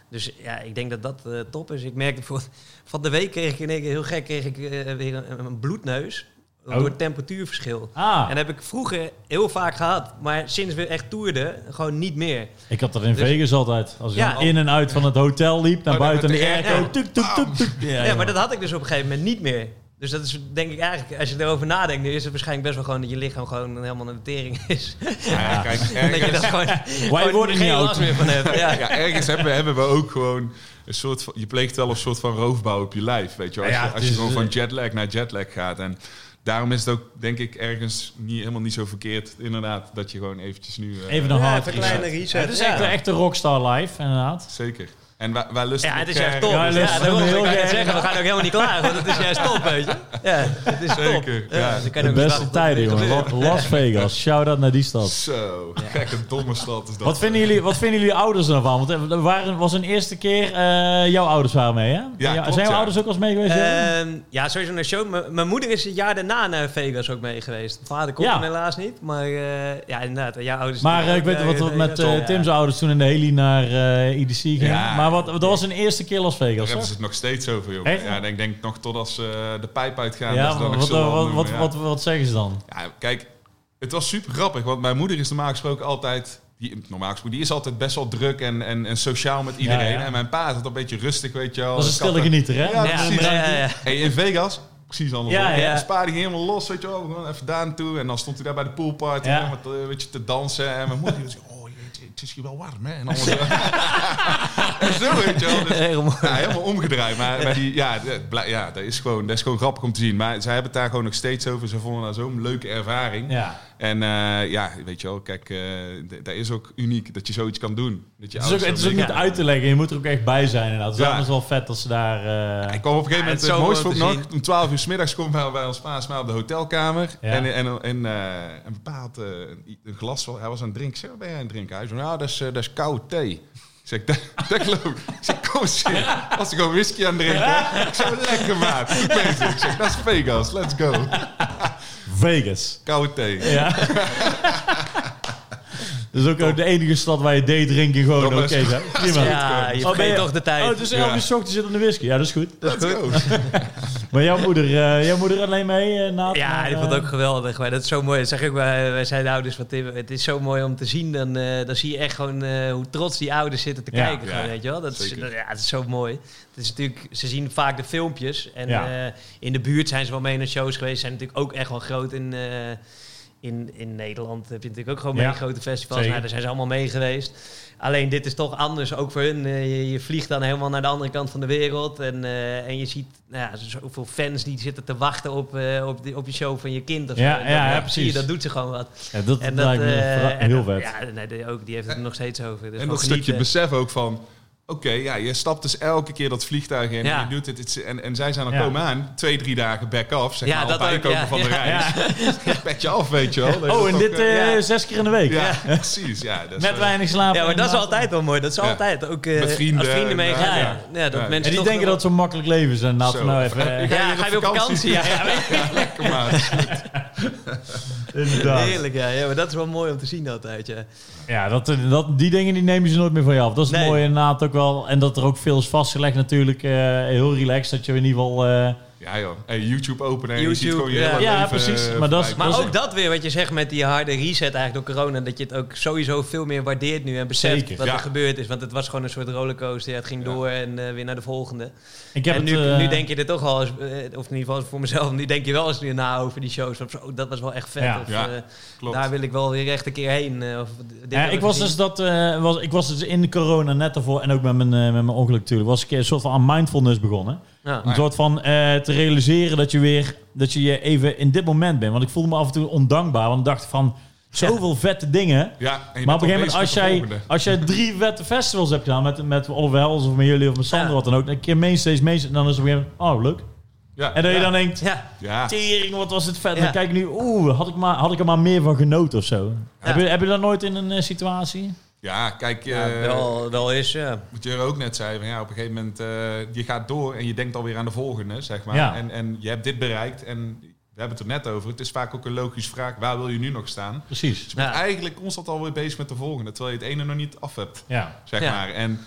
dus ja, ik denk dat dat eh, top is. Ik merkte voor van de week kreeg ik in één keer heel gek kreeg ik eh, weer een, een bloedneus Oh. door het temperatuurverschil. Ah, En dat heb ik vroeger heel vaak gehad, maar sinds we echt toerden, gewoon niet meer. ik had dat in Dus- Vegas altijd. Als ik Ja. in en uit van het hotel liep, naar Oh, dan buiten en met de de airco. airco. tuk, tuk, tuk, tuk. Ja, jongen. maar dat had ik dus op een gegeven moment niet meer. Dus dat is denk ik eigenlijk, als je erover nadenkt, nu is het waarschijnlijk best wel gewoon dat je lichaam gewoon helemaal een tering is. Ja, kijk, En dat je ergens, dat gewoon, gewoon worden geen niet oud. last meer van hebt. Ja. ja, ergens hebben, hebben we ook gewoon een soort van... Je pleegt wel een soort van roofbouw op je lijf, weet je wel. Als, Ja, je, als je dus- gewoon van jetlag naar jetlag gaat. En daarom is het ook, denk ik, ergens niet, helemaal niet zo verkeerd, inderdaad, dat je gewoon eventjes nu... eh, Even een Ja, hard even een reset. kleine reset, Ja, Het is ja. echt, echt een rockstar life, inderdaad. Zeker. En wij, wij lusten Ja, het is elkaar- juist top. Ja, Ja, dat is daarom wil heel ik net gek. zeggen, we gaan ook helemaal niet klaar, want het is juist top, weet je. Ja, het is top. Zeker, ja. dus ik kan De ook niet beste wachten tijden, tot het jongen. weer La- Las Vegas. Shout-out naar die stad. Zo, gekke domme stad is dat. Wat vinden jullie, wat vinden jullie ouders ervan? Want eh, er waren, was een eerste keer... eh, jouw ouders waren mee, hè? Ja, klopt, zijn jouw ja. ouders ook al eens mee geweest? Jeroen? gebeurt. Ehm, ja, sowieso naar show. M- Mijn moeder is het jaar daarna naar Vegas ook mee geweest. Mijn vader kon Ja. hem helaas niet, maar eh, ja, inderdaad. Jouw ouders Maar eh, ik weet wat we met eh, Tim's ouders toen in de heli naar eh, EDC gingen. Ja. Maar wat, dat was een eerste keer Las Daar Vegas, hebben toch? ze het nog steeds over, jongen. Echt? Ja, ik denk, denk nog totdat ze eh, de pijp uitgaan. dat Ja, ze dat wat, nog wat, zullen wat, doen, wat, ja. wat, zeggen ze dan? Ja, kijk, het was super grappig, want mijn moeder is normaal gesproken altijd... Die, normaal gesproken, die is altijd best wel druk en, en, en sociaal met iedereen. Ja, ja. En mijn pa is altijd een beetje rustig, weet je wel. Dat is een Katten. stille genieter, hè? Ja, Ja, precies. ja, ja, ja. Hey, in Vegas, precies andersom. Ja, Ja, ja. ja. die ging helemaal los, weet je wel. Gewoon even daar naartoe. En dan stond hij daar bij de poolparty Ja. en met, eh, weet je, te dansen. En mijn moeder die zei, oh, jeetje, het is hier wel warm, hè. En, alles, en zo, weet je wel. Dus- Heel mooi. ja, helemaal omgedraaid. Maar, maar die, ja, dat blij- ja dat, is gewoon, dat is gewoon grappig om te zien. Maar zij hebben het daar gewoon nog steeds over. Ze vonden dat zo'n leuke ervaring. Ja. En eh, ja, weet je wel, kijk, eh, d- dat is ook uniek dat je zoiets kan doen. Dat Het is je ook, ouders het is zo ook niet mee- uit te leggen. Je moet er ook echt bij zijn inderdaad. Het is Ja. anders wel vet dat ze daar... eh, Ik kwam op een gegeven Ja, moment, het is het zo mooiste om vond ik te nog, om 12 uur 's middags kwam bij, bij ons paas maar op de hotelkamer. Ja. En, en, en, eh, een bepaald eh, een, een glas, van- hij was aan het drinken. Ik zeg, wat ben jij aan het drinken? Hij zei, nou, dat is, eh, dat is koude thee. Ik zeg, dat, dat geloof ik. Ik zeg, kom eens hier. Was ik gewoon whisky aan het drinken? Ik zeg, lekker maat, goed bezig. Ik zeg, dat is Vegas, let's go. Vegas. Koude thee. Ja. Dat is ook, ook de enige stad waar je date drinken gewoon Dat oké was- zijn. Prima. Oh, Ja, je ben je- vergeet toch de tijd. Oh, het is 11 uur 's ochtends zit aan de whisky. Ja, dat is goed. Let's go. Maar jouw moeder, eh, jouw moeder alleen mee, eh Nathan? Ja, Maar, ik vond het eh, ook geweldig. Maar dat is zo mooi. Dat zeg ik ook bij, wij zijn de ouders van Tim. Het is zo mooi om te zien. Dan, eh, dan zie je echt gewoon eh, hoe trots die ouders zitten te Ja. kijken. Ja, gewoon, weet je wel? Dat, is, zeker. dat- ja, dat is zo mooi. Het is natuurlijk, ze zien vaak de filmpjes. En Ja. eh, in de buurt zijn ze wel mee naar shows geweest. Zijn natuurlijk ook echt wel groot in... eh, in, in Nederland heb je natuurlijk ook gewoon Ja. mee grote festivals. Zeker. Nou, daar zijn ze allemaal mee geweest. Alleen dit is toch anders, ook voor hun. Eh, je, je vliegt dan helemaal naar de andere kant van de wereld. En, eh, en je ziet nou ja, zoveel fans die zitten te wachten op, eh, op, die, op je show van je kind. Of Ja, zo. En ja, dan, ja, zie precies. je, dat doet ze gewoon wat. Ja, dat, En lijkt me eh, verra- en heel dat- vet. Ja, nee, die, ook, die heeft het er nog steeds over. Dus En gewoon dat stukje genieten. besef ook van... Oké, ja, je stapt dus elke keer dat vliegtuig in Ja. en je doet het. het is- en, en zij zijn er Ja. komen aan, twee, drie dagen back-off, zeg Ja, maar, dat op ook, aankomen ja, van de ja. reis. Pet je af, weet je wel. Dat Oh, is en ook, dit eh, eh, ja. zes keer in de week. Ja, precies. Ja, dat is Met wel- weinig eh, slapen. Ja, maar dat is inderdaad. altijd wel mooi. Dat is Ja. altijd ook eh, Met vrienden als vrienden en, meegaan. eh, Ja, ja. ja, dat Ja. mensen En En die toch denken wel- dat ze makkelijk leven zijn. Laten we Zo. nou even... eh, Ja, hier ga je weer op vakantie? Ja, Kom maar. inderdaad. Heerlijk, ja. ja, maar dat is wel mooi om te zien altijd. Ja, Ja, dat, eh, dat, die dingen die nemen ze nooit meer van je af. Dat is mooi Nee. mooie inderdaad ook wel. En dat er ook veel is vastgelegd natuurlijk. eh, heel relaxed dat je in ieder geval... eh, Ja joh, hey, YouTube openen en je YouTube, ziet gewoon je ja. hele Ja, leven, precies. eh, Maar dat is- voorbij dat Maar is- komen. ook dat weer, wat je zegt met die harde reset eigenlijk door corona. Dat je het ook sowieso veel meer waardeert nu en beseft Zeker. wat Ja. er gebeurd is. Want het was gewoon een soort rollercoaster. Ja, het ging Ja. door en eh, weer naar de volgende. ik heb en nu, het, eh, nu denk je er toch al eens, eh, of in ieder geval voor mezelf, nu denk je wel eens na over die shows. Van, zo, dat was wel echt vet. Ja. Of, Ja, eh, Klopt. daar wil ik wel weer echt een keer heen. eh, of dit Ja, heb ik, was gezien. dus dat, eh, was, ik was dus in de corona net daarvoor en ook met mijn, eh, met mijn ongeluk natuurlijk, was ik een soort van aan mindfulness begonnen. Ja. Een Ja. soort van eh, te realiseren dat je weer, dat je je even in dit moment bent. Want ik voelde me af en toe ondankbaar, want ik dacht van zoveel vette dingen. Ja, en je Maar op een bent gegeven moment, al als bezig met de jij, volgende. als jij drie vette festivals hebt gedaan met, met Oliver Hels of met jullie of met Sander, Ja. wat dan ook, een keer mainstage, mainstage, dan is het op een gegeven moment, oh leuk. Ja, En dat je ja. dan denkt, Ja. Ja, tering, wat was het vet. Ja. Dan kijk ik nu, oeh, had ik, maar, had ik er maar meer van genoten of zo. Heb, je, heb je dat nooit in een eh, situatie? ja kijk, Ja, eh, wel, wel is, ja. wat je er ook net zei, van, ja, op een gegeven moment, eh, je gaat door en je denkt alweer aan de volgende, zeg maar. Ja. En, en je hebt dit bereikt en we hebben het er net over. Het is vaak ook een logische vraag, waar wil je nu nog staan? Precies. Je bent Ja. eigenlijk constant alweer bezig met de volgende, terwijl je het ene nog niet af hebt. Ja. zeg Ja. maar. En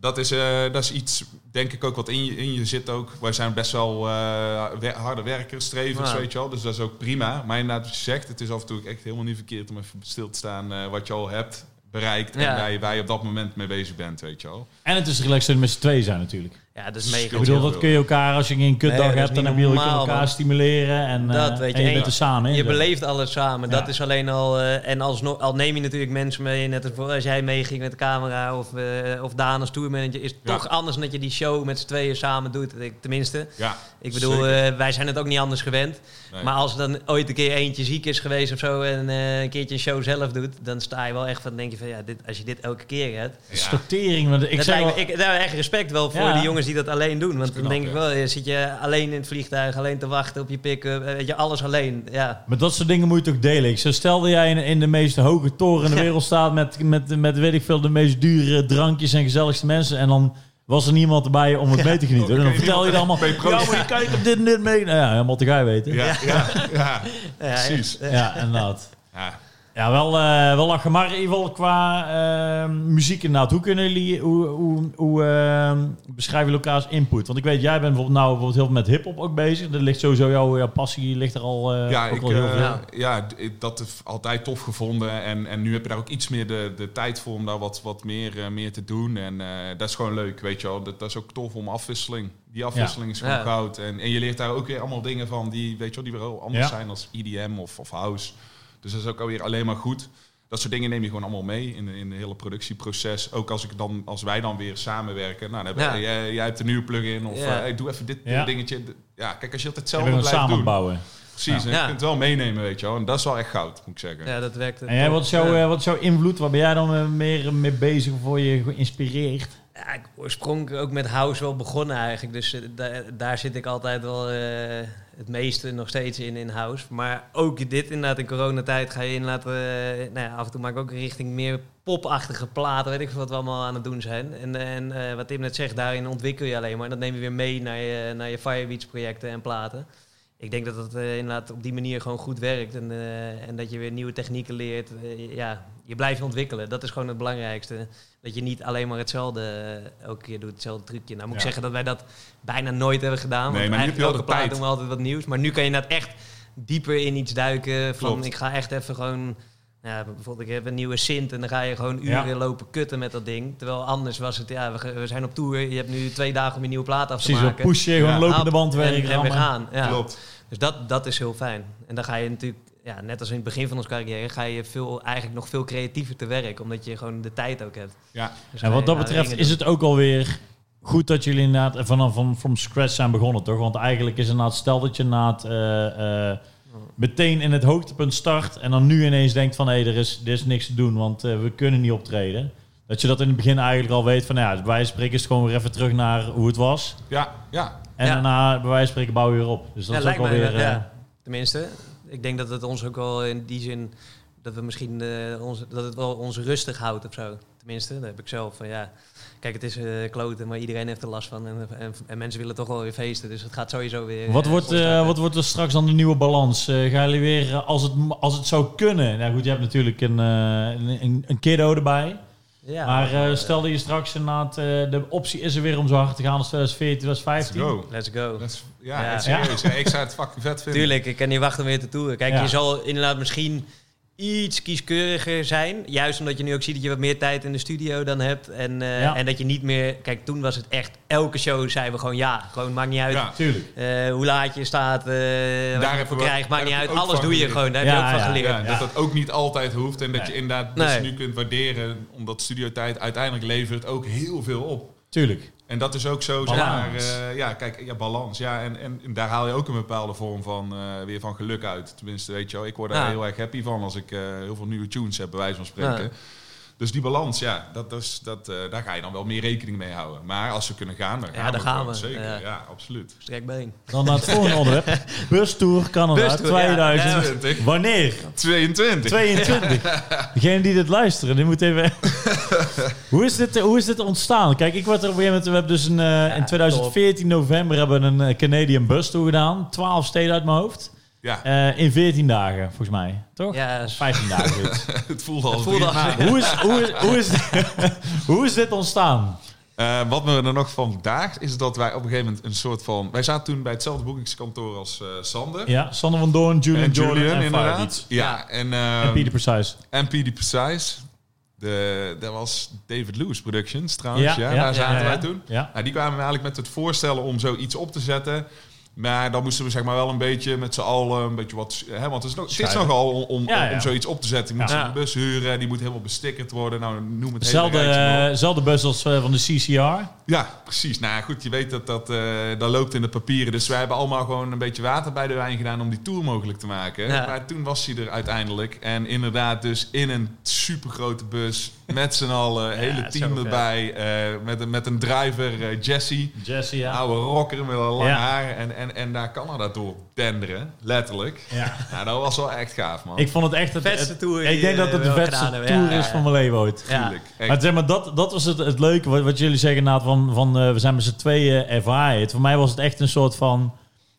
dat is, eh, dat is iets, denk ik ook, wat in je, in je zit ook. Wij zijn best wel eh, wer- harde werkers, strevers, Ja. weet je wel. Dus dat is ook prima. Maar inderdaad, wat je zegt, het is af en toe ook echt helemaal niet verkeerd om even stil te staan eh, wat je al hebt bereikt en Ja. waar je, waar je op dat moment mee bezig bent, weet je wel. En het is relaxed dat je met z'n tweeën zijn natuurlijk. Ja, dat is mega. Ik bedoel, heel dat veel. kun je elkaar, als je een kutdag Nee, dat is hebt, dan niet heb je elkaar normaal, man. stimuleren. En, eh, Dat weet je. en je En bent er samen in. Je zo. beleeft alles samen. Ja. Dat is alleen al. eh, en alsnog, al neem je natuurlijk mensen mee. Net als voor- als jij meeging met de camera of, eh, of Daan als tourmanager. Is het Ja. toch anders dan dat je die show met z'n tweeën samen doet. Ik- Tenminste. Ja, Ik bedoel, Zeker. eh, wij zijn het ook niet anders gewend. Nee. Maar als er dan ooit een keer eentje ziek is geweest of zo. En eh, een keertje een show zelf doet. Dan sta je wel echt van. denk je van ja, dit, als je dit elke keer hebt. ja. Stotering. Want ik dat zeg lijkt wel, me- ik, daar echt respect wel voor Ja. die jongens die dat alleen doen. Want dan knap, denk hè? ik wel, eh, zit je alleen in het vliegtuig, alleen te wachten op je pick-up. eh, Weet je, alles alleen. Ja. Maar dat soort dingen moet je toch delen. Ik zeg, stel dat jij in, in de meest hoge toren in de Ja. wereld staat met, met, met, weet ik veel, de meest dure drankjes en gezelligste mensen. En dan was er niemand erbij om het mee te genieten. Oké, dan vertel je het allemaal. Ben je Ja, maar je kijkt op dit en dit mee. Nou ja, helemaal te gij weten. Ja, Ja, ja, Ja, ja, precies. inderdaad. Ja. Ja, wel, eh, wel lachen. Maar in ieder geval qua eh, muziek inderdaad. Hoe kunnen jullie, hoe, hoe, hoe eh, beschrijven jullie elkaars input? Want ik weet, jij bent bijvoorbeeld, nou, bijvoorbeeld heel veel met hip-hop ook bezig. Er ligt sowieso jouw, jouw passie ligt er al, eh, ja, ook ik, al heel eh, veel. ja. d- ik- dat is altijd tof gevonden. En, en nu heb je daar ook iets meer de, de tijd voor om daar wat, wat meer, eh, meer te doen. En eh, dat is gewoon leuk, weet je wel. Dat, dat is ook tof om afwisseling. Die afwisseling is gewoon Ja. goud. En, en je leert daar ook weer allemaal dingen van die, weet je wel, die weer heel anders Ja. zijn als EDM of, of house. Dus dat is ook alweer alleen maar goed. Dat soort dingen neem je gewoon allemaal mee in, de- in het hele productieproces. Ook als, ik dan, als wij dan weer samenwerken. Nou, dan heb Ja. je- jij, jij hebt een nieuwe plugin of Ja. eh, hey, doe even dit Ja. dingetje. Ja, kijk, als je altijd Je hetzelfde bent blijft het samen doen. bouwen. Nou. Precies, en Ja. je kunt het wel meenemen, weet je wel. En dat is wel echt goud, moet ik zeggen. Ja, dat werkt. En jij, top. wat is, jouw, Ja. eh, wat is jouw invloed? Waar ben jij dan eh, meer mee bezig of word je geïnspireerd? Ja, ik oorspronkelijk ook met house wel begonnen eigenlijk. Dus eh, da- daar zit ik altijd wel eh, het meeste nog steeds in, in house. Maar ook dit inderdaad, in coronatijd ga je inderdaad... eh, nou ja, af en toe maak ik ook richting meer popachtige platen. Weet ik veel wat we allemaal aan het doen zijn. En, en eh, wat Tim net zegt, daarin ontwikkel je alleen maar. En dat neem je weer mee naar je, naar je Firebeats projecten en platen. Ik denk dat dat eh, inderdaad op die manier gewoon goed werkt. En, eh, en dat je weer nieuwe technieken leert. Eh, ja, je blijft ontwikkelen. Dat is gewoon het belangrijkste. Dat je niet alleen maar hetzelfde eh, elke keer doet, hetzelfde trucje. Nou moet ik Ja. zeggen dat wij dat bijna nooit hebben gedaan. Nee, want maar nu heb je eigenlijk elke wel de tijd. plaat doen we altijd wat nieuws. Maar nu kan je inderdaad echt dieper in iets duiken. Van Klopt. ik ga echt even gewoon... Ja, bijvoorbeeld ik heb een nieuwe Sint en dan ga je gewoon Ja. uren lopen kutten met dat ding. Terwijl anders was het, ja, we, ge- we zijn op tour. Je hebt nu twee dagen om je nieuwe plaat af te Precies, maken. wel pushen, gewoon Ja. lopende Hap, bandwerk. en, en weer rammen. gaan. Ja. Klopt. Dus dat, dat is heel fijn. En dan ga je natuurlijk, ja, net als in het begin van onze carrière, ga je veel, eigenlijk nog veel creatiever te werk. Omdat je gewoon de tijd ook hebt. Ja. Dus En ga wat je dat nou betreft dingen is doen. het ook alweer goed dat jullie inderdaad vanaf van from scratch zijn begonnen, toch? Want eigenlijk is inderdaad, stel dat je inderdaad eh, eh, meteen in het hoogtepunt start en dan nu ineens denkt van hé, er, is, er is niks te doen, want eh, we kunnen niet optreden. Dat je dat in het begin eigenlijk al weet van, nou ja, bij wijze van spreken is het gewoon weer even terug naar hoe het was. Ja, ja. En Ja. daarna, bij wijze van spreken, bouw je weer op. Dus dat Ja, is ook lijkt wel mij weer... wel, eh, ja. Tenminste, ik denk dat het ons ook wel in die zin dat we misschien eh, ons, dat het wel ons rustig houdt of zo. Tenminste, dat heb ik zelf van ja. Kijk, het is eh kloten, maar iedereen heeft er last van en, en, en mensen willen toch wel weer feesten, dus het gaat sowieso weer. Wat eh, wordt, eh, opstarten. wat wordt er straks dan de nieuwe balans? Eh, gaan jullie weer, eh, als, het, m- als het zou kunnen... Nou goed, je hebt natuurlijk een, eh, een, een- een kiddo erbij. Ja, maar eh, stel dat je straks inderdaad... eh, de optie is er weer om zo hard te gaan als 2014, Let's 2015. go. Let's go. Let's- ja, Ja. serieus. Ja, ik zou het fucking vet vinden. Tuurlijk, ik kan niet wachten om weer te toeren. Kijk, Ja. je zal inderdaad misschien iets kieskeuriger zijn. Juist omdat je nu ook ziet dat je wat meer tijd in de studio dan hebt. En, eh, Ja. en dat je niet meer... Kijk, toen was het echt... Elke show zeiden we gewoon ja. Gewoon maakt niet uit Ja. Tuurlijk. eh, hoe laat je staat. eh wat je hebben voor we- krijgt, maakt daar niet heb uit. ik ook Alles van doe je geleerd. gewoon. Daar Ja, heb je ook ja. van geleerd. Ja, Ja. Dat dat ook niet altijd hoeft en dat Nee. je inderdaad Nee. dus nu kunt waarderen, omdat studiotijd uiteindelijk levert ook heel veel op. Tuurlijk. En dat is ook zo, zeg maar, Balans. eh, ja, kijk, ja, balans. Ja, en, en, daar haal je ook een bepaalde vorm van, eh, weer van geluk uit. Tenminste, weet je wel, ik word daar Ja. heel erg happy van als ik eh, heel veel nieuwe tunes heb, bij wijze van spreken. Ja. Dus die balans, ja, dat is, dat, eh, daar ga je dan wel meer rekening mee houden. Maar als ze kunnen gaan, dan gaan, dan we, gaan gewoon, we, Zeker, ja. ja, absoluut. Strekbeen. Dan naar het volgende onderwerp. Bustour Canada Bustour, ja. 2000. Ja. 20, Wanneer? 22. 22. Degene die dit luisteren, die moet even... hoe, is dit, hoe is dit ontstaan? Kijk, ik word er op een gegeven moment... We hebben dus een, eh, in 2014 november hebben we een eh, Canadian Bus Tour gedaan. 12 steden uit mijn hoofd. Ja, Eh, in 14 dagen, volgens mij. Toch? Ja, 15 dagen. zoiets. het voelde al het voelde drie als... maanden. hoe, is, hoe, is, hoe, is, hoe is dit ontstaan? Eh, wat me er nog van daagt, is dat wij op een gegeven moment een soort van... Wij zaten toen bij hetzelfde boekingskantoor als eh, Sander. Ja, Sander van Doorn, Julian, en Jordan Julian, en inderdaad. inderdaad. Ja, en, eh, en Peter Precise. en PD Precise. De, dat was David Lewis Productions trouwens. Ja, Ja, ja, daar zaten ja, ja. wij toen. Ja. Nou, die kwamen eigenlijk met het voorstellen om zoiets op te zetten. Maar dan moesten we zeg maar wel een beetje met z'n allen een beetje wat... Hè, want het is, nog, het is Schuiven. nogal om, om, Ja, ja. om zoiets op te zetten. Je moet Ja. een bus huren, die moet helemaal bestickerd worden. Nou, noem het hele Zelfde, rijtje maar op. eh, zelfde bus als eh, van de CCR. Ja, precies. Nou ja, goed, je weet dat dat, eh, dat loopt in de papieren. Dus wij hebben allemaal gewoon een beetje water bij de wijn gedaan om die tour mogelijk te maken. Ja. Maar toen was hij er uiteindelijk. En inderdaad dus in een supergrote bus met z'n allen, hele team zo vet. erbij. eh, met, een- met een driver, eh, Jesse. Jesse, ja. Oude rocker met een lang Ja. haar. En, en, en daar Canada door denderen, letterlijk. ja. Nou, dat was wel echt gaaf, man. Ik vond het echt het, Vetste het- tour Ik die, denk dat eh, het we de wel vetste gedaan tour hebben, ja, ja, is ja. van mijn leven ooit. Tuurlijk. Echt. Maar, zeg maar dat, dat was het, het leuke wat, wat jullie zeggen, Naad, van, van eh, we zijn met z'n tweeën ervaren. Het- Voor mij was het echt een soort van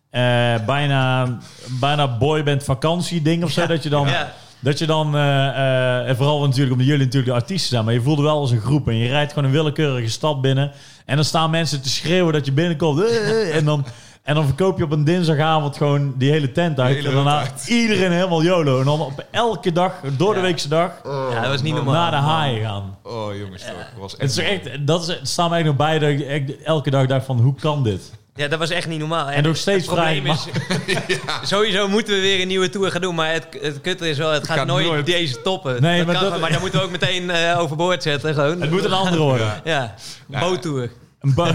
eh, bijna, bijna boyband vakantieding of zo. Dat je dan, Ja. dat je dan eh, eh, en vooral natuurlijk omdat jullie natuurlijk de artiesten zijn, maar je voelde wel als een groep. En je rijdt gewoon een willekeurige stad binnen en dan staan mensen te schreeuwen dat je binnenkomt. Eh, eh, en dan... En dan verkoop je op een dinsdagavond gewoon die hele tent uit. hele en daarna tent uit. iedereen helemaal YOLO. En dan op elke dag, door de Ja. weekse dag, Ja, dat was niet normaal. naar de haaien gaan. Oh, jongens, toch. Dat was echt... Het is echt, dat is, het staat mij nog bij dat ik echt elke dag dacht van, hoe kan dit? Ja, dat was echt niet normaal. En nog steeds het probleem vrij, is, Sowieso moeten we weer een nieuwe tour gaan doen. Maar het, het kutte is wel, het gaat, gaat nooit, nooit. deze toppen. Nee, maar dat kan dat- gewoon, maar dan moeten we ook meteen eh, overboord zetten. Gewoon. Het moet een andere worden. Ja. Ja, Ja. boottour. Een ba-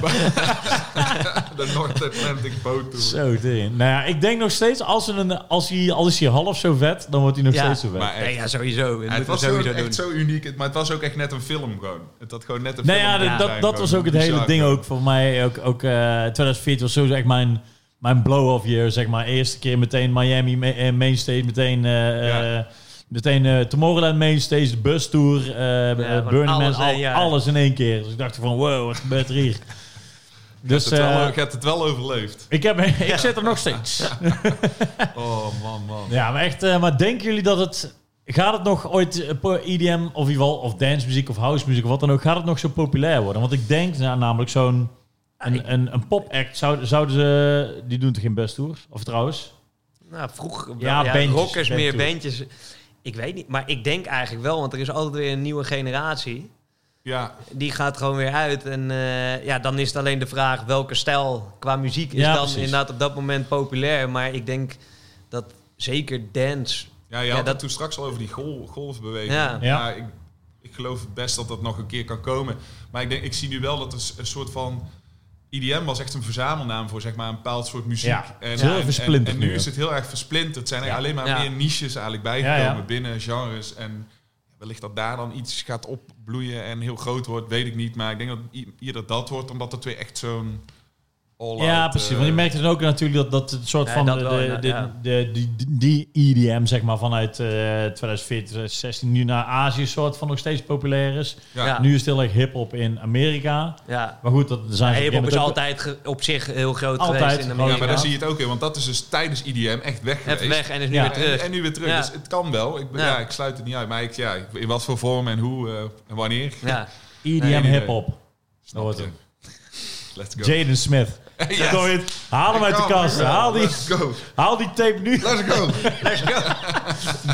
De North Atlantic Boat Tour. zo, ding. Nou ja, ik denk nog steeds, als, we een, als, hij, al is hij half zo vet, dan wordt hij nog Ja. steeds zo vet. Maar echt. Nee, ja, sowieso. Dat Ja, het moeten we was sowieso ook doen. echt zo uniek, Het- maar het was ook echt net een film gewoon. Het had gewoon net een nou film. ja, dat, moeten dat, zijn, dat gewoon. was ook het hele Bizar ding gewoon. ook voor mij. Ook, ook eh 2014 was sowieso echt mijn, mijn blow-off year, zeg maar. Eerste keer meteen Miami ma- eh, Mainstage, meteen... eh, Ja. eh, Meteen eh, Tomorrowland Mainstage, de bustour, eh, eh, gewoon Burning Man, alles, al- eh, ja. alles in één keer. Dus ik dacht van, wow, wat gebeurt er hier? Je hebt Dus het wel- eh, je hebt het wel overleefd. Ik, heb, ik zit er nog steeds. Oh man, man. Ja, maar echt. eh, maar denken jullie dat het. Gaat het nog ooit eh, po- EDM of in ieder geval of dancemuziek of housemuziek of wat dan ook, gaat het nog zo populair worden? Want ik denk nou, namelijk zo'n een, een, een pop-act zou, zouden ze die doen toch geen best tours? Of trouwens? Nou, vroeg Ja, ja, bandjes, rockers, meer bandtour. bandjes. Ik weet niet, maar ik denk eigenlijk wel, want er is altijd weer een nieuwe generatie. Ja, Die gaat gewoon weer uit. En eh, ja, dan is het alleen de vraag welke stijl qua muziek is Ja, dan precies. inderdaad op dat moment populair. Maar ik denk dat zeker dance. ja je Ja, had dat- het toen straks al over die gol, golfbeweging. Ja. Ja. Maar ik, ik geloof best dat dat nog een keer kan komen. Maar ik, denk, ik zie nu wel dat er s- een soort van... IDM was echt een verzamelnaam voor zeg maar, een bepaald soort muziek. Ja, en, het is heel en- en- versplinterd en, nu, nu hè? is het heel erg versplinterd. Het zijn er Ja. alleen maar Ja. meer niches eigenlijk Ja, bijgekomen ja. binnen genres. En Wellicht dat daar dan iets gaat opbloeien en heel groot wordt, weet ik niet. Maar ik denk dat i- eerder dat wordt, omdat de twee echt zo'n all eh, Ja, precies. Want je merkt dan ook natuurlijk dat, dat het soort eh, Nee, van dat de, wel, de, ja, de- ja. de- die, die EDM, zeg maar, vanuit eh 2014, 2016 nu naar Azië soort van nog steeds populair is. Ja. Ja. Nu is het heel erg hip-hop in Amerika. Ja. Maar goed, dat zijn ze op een Hip-hop is gegeven moment ook- altijd ge- op zich heel groot Altijd geweest in groot, Ja, Amerika. maar daar zie je het ook in, want dat is dus tijdens IDM echt weg geweest. Even weg en is nu Ja. En, weer terug. en nu weer terug. Ja. Dus het kan wel. Ik, ben- Ja. ja, ik sluit het niet uit. Maar ik, ja, in wat voor vorm en hoe eh, en wanneer. ja. EDM Nee, nee, nee. E hip-hop. Snap wordt je. hem. Let's go. Jaden Smith. Yes. Kom je het? Haal hem uit de kast. Haal die, Let's go. haal die tape nu. Let's go.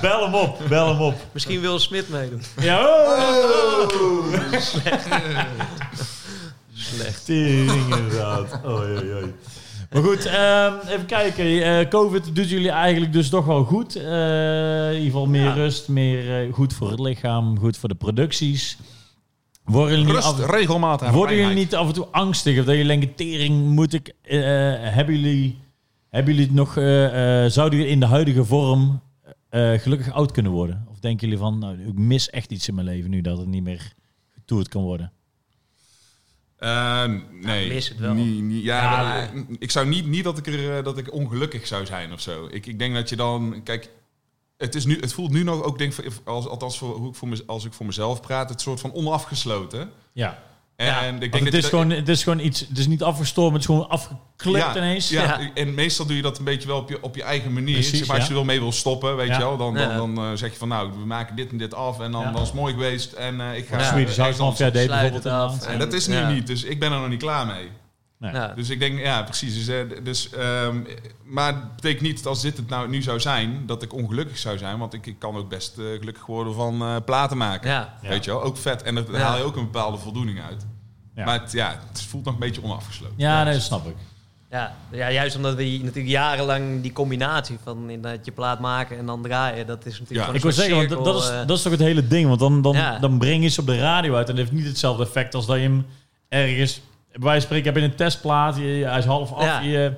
Bel hem op. Bel hem op. Misschien wil Smit meedoen. Ja, oh. Slecht. Tering inderdaad. Oei, oei, oei. Maar goed, ehm, even kijken. Eh, Covid doet jullie eigenlijk dus toch wel goed. Eh, in ieder geval meer Ja. rust, meer eh, goed voor het lichaam, goed voor de producties. Worden jullie, Rust, af, regelmatig. aan worden jullie reinheid. niet af en toe angstig? Of dat jullie denken, tering, moet ik... eh, hebben, jullie, hebben jullie het nog... eh, eh, zouden jullie in de huidige vorm eh, gelukkig oud kunnen worden? Of denken jullie van, nou, ik mis echt iets in mijn leven nu dat het niet meer getoerd kan worden? Eh, nee. mis het wel. Niet- niet- ja, Ja, maar, eh, ik zou niet, niet dat, ik er, eh, dat ik ongelukkig zou zijn of zo. Ik, ik denk dat je dan... Kijk, het, is nu, het voelt nu nog ook, denk, ik, voor- als, althans voor, hoe ik voor mez- als ik voor mezelf praat, het soort van onafgesloten. Ja. En Ja, ik denk Want dat het, je is dat- gewoon, het is gewoon iets, het is niet afgestorven, het is gewoon afgeklipt ja, ineens. Ja, Ja. en meestal doe je dat een beetje wel op je, op je eigen manier. Precies, Zeg maar als ja. je er wel mee wil stoppen, weet Ja. je wel, dan, dan, Ja. dan, eh, zeg je van nou, we maken dit en dit af en dan, Ja. dan is het mooi geweest en eh, ik ga... Ja. Swedish House eh, ergens Mafia deed sluit bijvoorbeeld het af. inderdaad. En dat is nu Ja. niet, dus ik ben er nog niet klaar mee. Nee. Ja. Dus ik denk, ja, precies. Dus, eh, d- dus, ehm, maar het betekent niet dat als dit het nou nu zou zijn, dat ik ongelukkig zou zijn. Want ik, ik kan ook best eh, gelukkig worden van eh, platen maken. Ja. Ja. Weet je wel, ook vet. En daar Ja. haal je ook een bepaalde voldoening uit. Ja. Maar het, ja, het voelt nog een beetje onafgesloten. Ja, nee, dat snap ik. Ja. ja, juist omdat we hier natuurlijk jarenlang die combinatie van inderdaad je plaat maken en dan draaien, dat is natuurlijk Ja. gewoon Ik wil een soort zeggen, want dat- cirkel, dat is, eh, dat is toch het hele ding. Want dan, dan, Ja. dan breng je ze op de radio uit en dat heeft niet hetzelfde effect als dat je hem ergens... Bij wijze van spreken heb je een testplaat, je, je- hij is half af, Ja. je,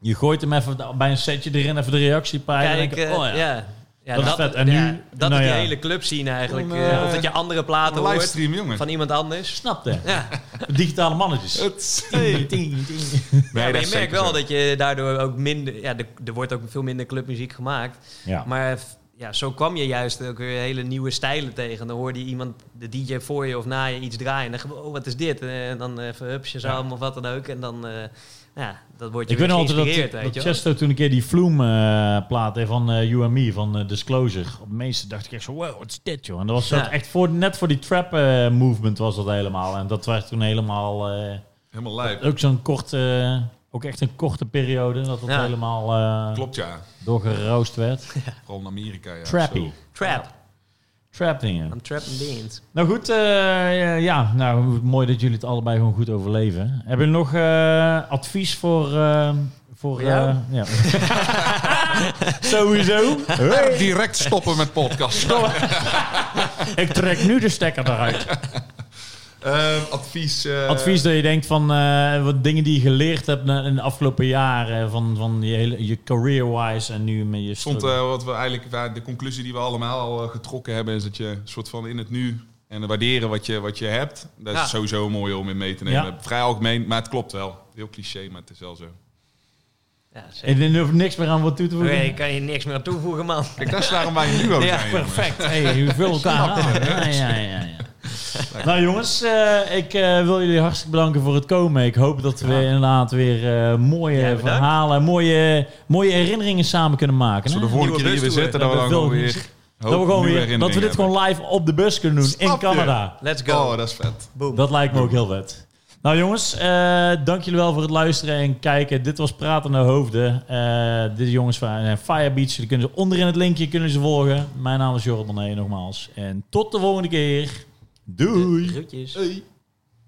je gooit hem even bij een setje erin, even de reactie peilen. en Kijk, dan denk je, eh, oh ja. ja. Ja, Dat is vet. En ja, nu- dat nou is ja. die hele clubscene eigenlijk. Een, eh, eh, of dat je andere platen Een hoort livestream, jongen. van iemand anders. Snapte. Ja. Digitale mannetjes. Het- Ting, ting, ting. Nee, Ja, dat maar is je merkt zeker wel zo. dat je daardoor ook minder... Ja, er, er wordt ook veel minder clubmuziek gemaakt. Ja. Maar f- ja, zo kwam je juist ook weer hele nieuwe stijlen tegen. Dan hoorde je iemand, de DJ voor je of na je, iets draaien. En dan gewoon, oh, wat is dit? En dan eh, even hup, Shazam of wat dan ook. En dan, eh, ja, dat wordt je Ik weet nog weer altijd geïnspireerd, dat, weet dat je wel. Chesto toen een keer die Vloem eh plaat heeft van eh UME, van eh, Disclosure. Op de meeste dacht ik echt zo, wow, wat is dit joh. En dat was Ja. dat echt voor, net voor die trap eh, movement was dat helemaal. En dat werd toen helemaal, eh, Helemaal lijp. ook zo'n korte, eh, ook echt een korte periode, dat dat Ja. helemaal eh Klopt, ja. doorgeroost werd. Vooral in Amerika, ja. Trappy. Zo. Trap. Trap dingen. I'm trapping beans. Nou goed, eh, ja, nou mooi dat jullie het allebei gewoon goed overleven. Hebben jullie nog eh, advies voor... eh, voor Voor jou? eh, ja. Sowieso. Direct stoppen met podcast. Ik trek nu de stekker eruit. Ehm, advies. eh, Advies dat je denkt van eh, wat dingen die je geleerd hebt na- in de afgelopen jaren. eh, Van, van je, hele, je career-wise en nu met je stond struggle. eh, wat we eigenlijk waar de conclusie die we allemaal al eh, getrokken hebben is dat je een soort van in het nu en waarderen wat je, wat je hebt. Dat is Ja. sowieso mooi om in mee te nemen. Ja. Vrij algemeen, maar het klopt wel. Heel cliché, maar het is wel zo. Ja, zeker. Ik denk er niks meer aan wat toe te voegen. Oké, ik kan je niks meer aan toevoegen, man. Kijk, dat is waarom wij een duo Ja, zijn. jongen. Perfect. Hey, je vult elkaar aan. Ja, ja, ja, ja. Nou jongens, eh, ik eh, wil jullie hartstikke bedanken voor het komen. Ik hoop dat we inderdaad weer eh, mooie Jij bedankt. verhalen, mooie, mooie herinneringen samen kunnen maken. Als hè? we de vorige Nieuwe keer hier weer bustour. zitten, dat we dan wil gewoon ik weer... niet Dat we, gewoon weer, dat we dit gewoon live op de bus kunnen doen in Snap je? Canada. Let's go. Oh, dat is vet. Boom. Dat lijkt me ook heel vet. Nou jongens, eh, dank jullie wel voor het luisteren en kijken. Dit was Praten naar Hoofden. Eh dit jongens van eh, Firebeach. Die kunnen ze onderin het linkje kunnen ze volgen. Mijn naam is Jorrit Bonet nogmaals. En tot de volgende keer. Doei! Groetjes. Hey.